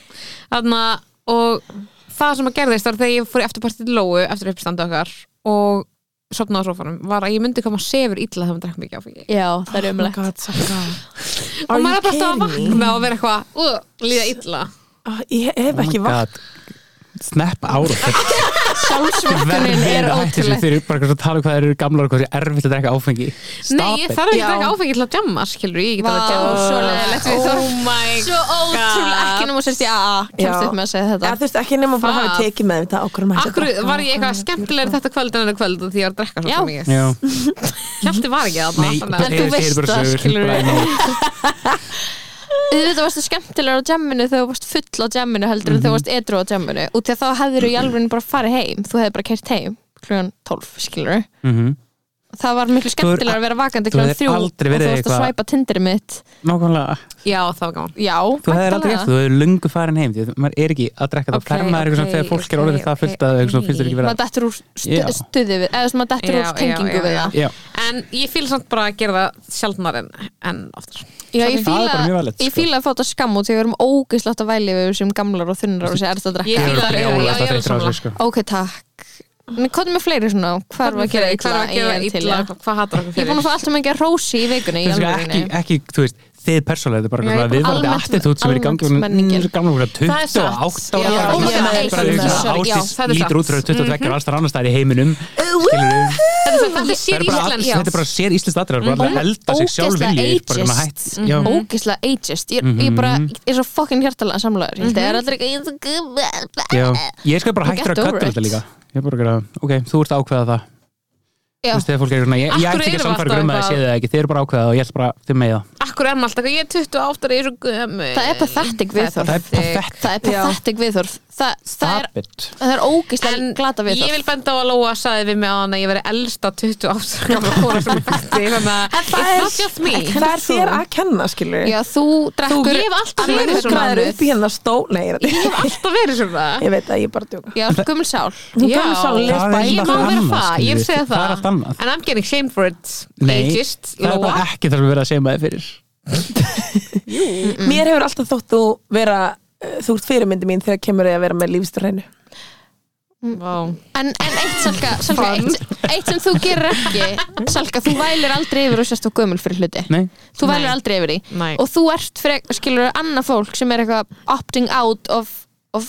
Þannig að og það sem að gerðist var þegar ég fór í eftirpartið Lóu eftir uppstandu okkar og sopnaði á sofanum var að ég myndi koma að sefur illa þegar maður drekk mikið áfengi Já, það er umlegt Oh God, Saka. og Are maður you er bara alltaf að kidding me? vakna og vera eitthvað uh, líða illa Ah, Ég hef ekki Oh my vakt god. Snap ára Sjálfsvökkunin er Verðið að hætti þessu ótrúleg þeir eru bara eitthvað að tala um hvað þeir eru gamlar og hvað þeir eru erfitt að drekka áfengi Stop Nei, ég it. þarf ekki að Já. drekka áfengi til að jamma skilur ég, ég get Vá, alveg að jamma svo leiðilegt við Oh my Svo ótrúlega ekki nema sérst í AA Já. Kemst upp með að segja Eða þetta þú veist ekki nema bara Það- hafa tekið með þetta okkur um að Akkur var ég eitthvað skemmtilegri þetta kvöld en þetta kvöld og því ég var að drekka Já. svo mikið Já. Hjalti var ekki þarna Nei, þannig að- En þú er- veist er bara það, sögur, skilurðu. bara nóg. Þetta varstu skemmtilegur á jamminu þegar þú varst full á jamminu heldur en þegar þú varst edru á jamminu og því að þá hefðir þú í alveg bara farið heim þú hefði bara kert heim klugan 12 skilur Mhm. það var miklu skemmtilegur að vera vakandi klugan þú hefur 3 og aldrei þú verið varst að eitthvað- svæpa tindri mitt Nákvæmlega Já, það var gaman Já, Þú hefðir aldrei væntanlega. gert, það, þú hefur lungu farin heim því að maður er ekki að drekka það Ok, okay, ferma er eitthvað ok, okay, þegar fólk er orðið ok, það fullt að okay. ok. finnst þér ekki vera maður dettur úr stu, Já. stuði við eða svona maður dettur Já, úr tengingu já, við já, það Já, En ég fíl samt bara að gera það sjaldnar en, en oftar Já, ég Það er bara fíla- mjög valid, ég sko. fíla að fá þetta skamm út því við erum ógeðslátt að væli við sem gamlar og þunnar og sér erst að drekka ég Ég er fíla- bara já, já, ólega ég er þetta eitthvað á sammála. sig sko Ok, takk En hvað er með fleiri svona? Hvað er að gera illa? Hvað er að Ég gera er til í illa? það. Hvað hattar okkur Ég er búin að fá alltaf mikið rósi í vikunni í Þú veist, alvörunni. ekki, ekki, þú veist, þið persónulega þetta er bara Já, svona ég- viðvarandi almennt- attitút sem er í gangi almennt menningin. svo gamla okkur Það er satt. 28 ára Já, ég er með gamla. bara þig. svona Sorry, já, ástís það er satt. lítur út frá 22 og alls þar annars það er í heiminum skilurðu. Þetta er Það sér er Mhm. bara all- íslensk þetta er bara sér íslenskt aðra bara allir að elda sig sjálf Ógeðslega vilji bara svona hætt ageist. Já. Mhm. Mhm. Ógeðslega ageist Ég er- ég er bara, ég er svo fucking hjartalega samlaður Mhm. Ég er aldrei eitthvað, ég er svo guð- Já. ég skal bara hættur Get að over köttu it. þetta líka ég er bara að gera, ok, þú ert að ákveða það Já. þú veist, þegar fólk er svona, ég, ég Af hverju ætti ekki að erum við samfæra alltaf grum að það sé eitthvað- það ekki, þið eru bara að ákveða það og ég ætla bara þið með það Akkur er maður alltaf Ég er 28 ára, ég er svo gömur Það er pathetic viðhorf það er perfekt, Það er pathetic viðhorf Það, það, er, stop it það er ógeðslega En glata Ég vil viðhorf benda á að Lóa saði við mig á hann að ég veri elsta 28 ára gamla kona sem ég þekkti, þannig að it's það er- not just me Það er þér að kenna skilur Já, þú drekkur Ég hef alltaf Þú verið svona ruglaðir upp í hérna stól Nei, ég er Ég hef alltaf verið svona Ég veit að ég er bara að djóka Já, gummul sál Hún Já. gaf Það sálinn er lesbæ Ég má Allt vera annað, það, ég skilur við. hef segið Það er allt það annað. And I'm getting shamed for it Nei, Ageist, það er bara Lóa ekki það sem við erum að segja maður fyrir Mér hefur alltaf þótt þú vera uh, Þú ert fyrirmyndi mín þegar kemur ég að vera með lífstrænu Vá. En, en eitt, Salka, Salka eitt, eitt sem þú gerir ekki Salka, þú vælir aldrei yfir og sérst á gömul fyrir hluti Nei, Þú vælir Nei. aldrei yfir því Nei. Og þú ert, frek, skilur, annað fólk sem er eitthvað opting out of, of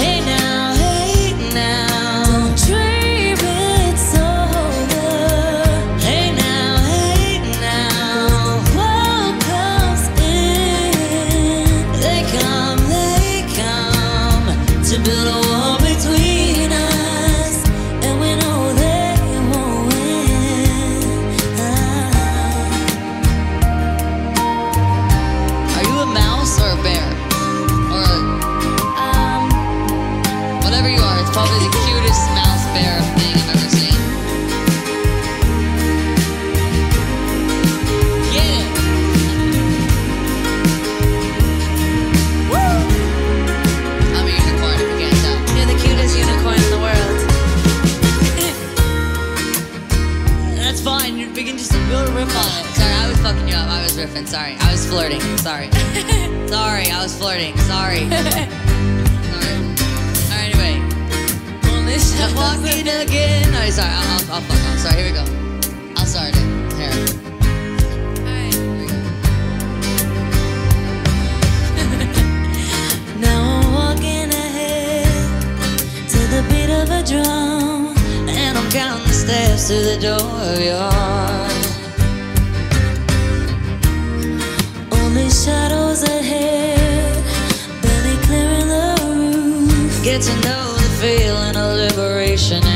Hey now, hey now, dream it's over. Hey now, hey now, what comes in? They come, they come to build a wall between us, and we know they won't win. Are you a mouse or a bear? Or a, Um, whatever you are, it's probably the cutest mouse bear thing I've ever seen. Get it! I'm a unicorn if you can't tell. You're the cutest unicorn in the world. That's fine, you're begin to build a riff on it. Sorry, I was fucking you up. I was riffing, sorry. I was flirting, sorry. sorry, I was flirting, sorry. sorry. Alright, anyway. Only I'm walking again. No, sorry. I'll, I'll, I'll fuck off. Sorry, here we go. I'll start it. Here. Here we go. Now I'm walking ahead to the beat of a drum, and I'm counting the steps to the door of your heart. Only shadows ahead, barely clearing the roof. Get to know the feeling of liberation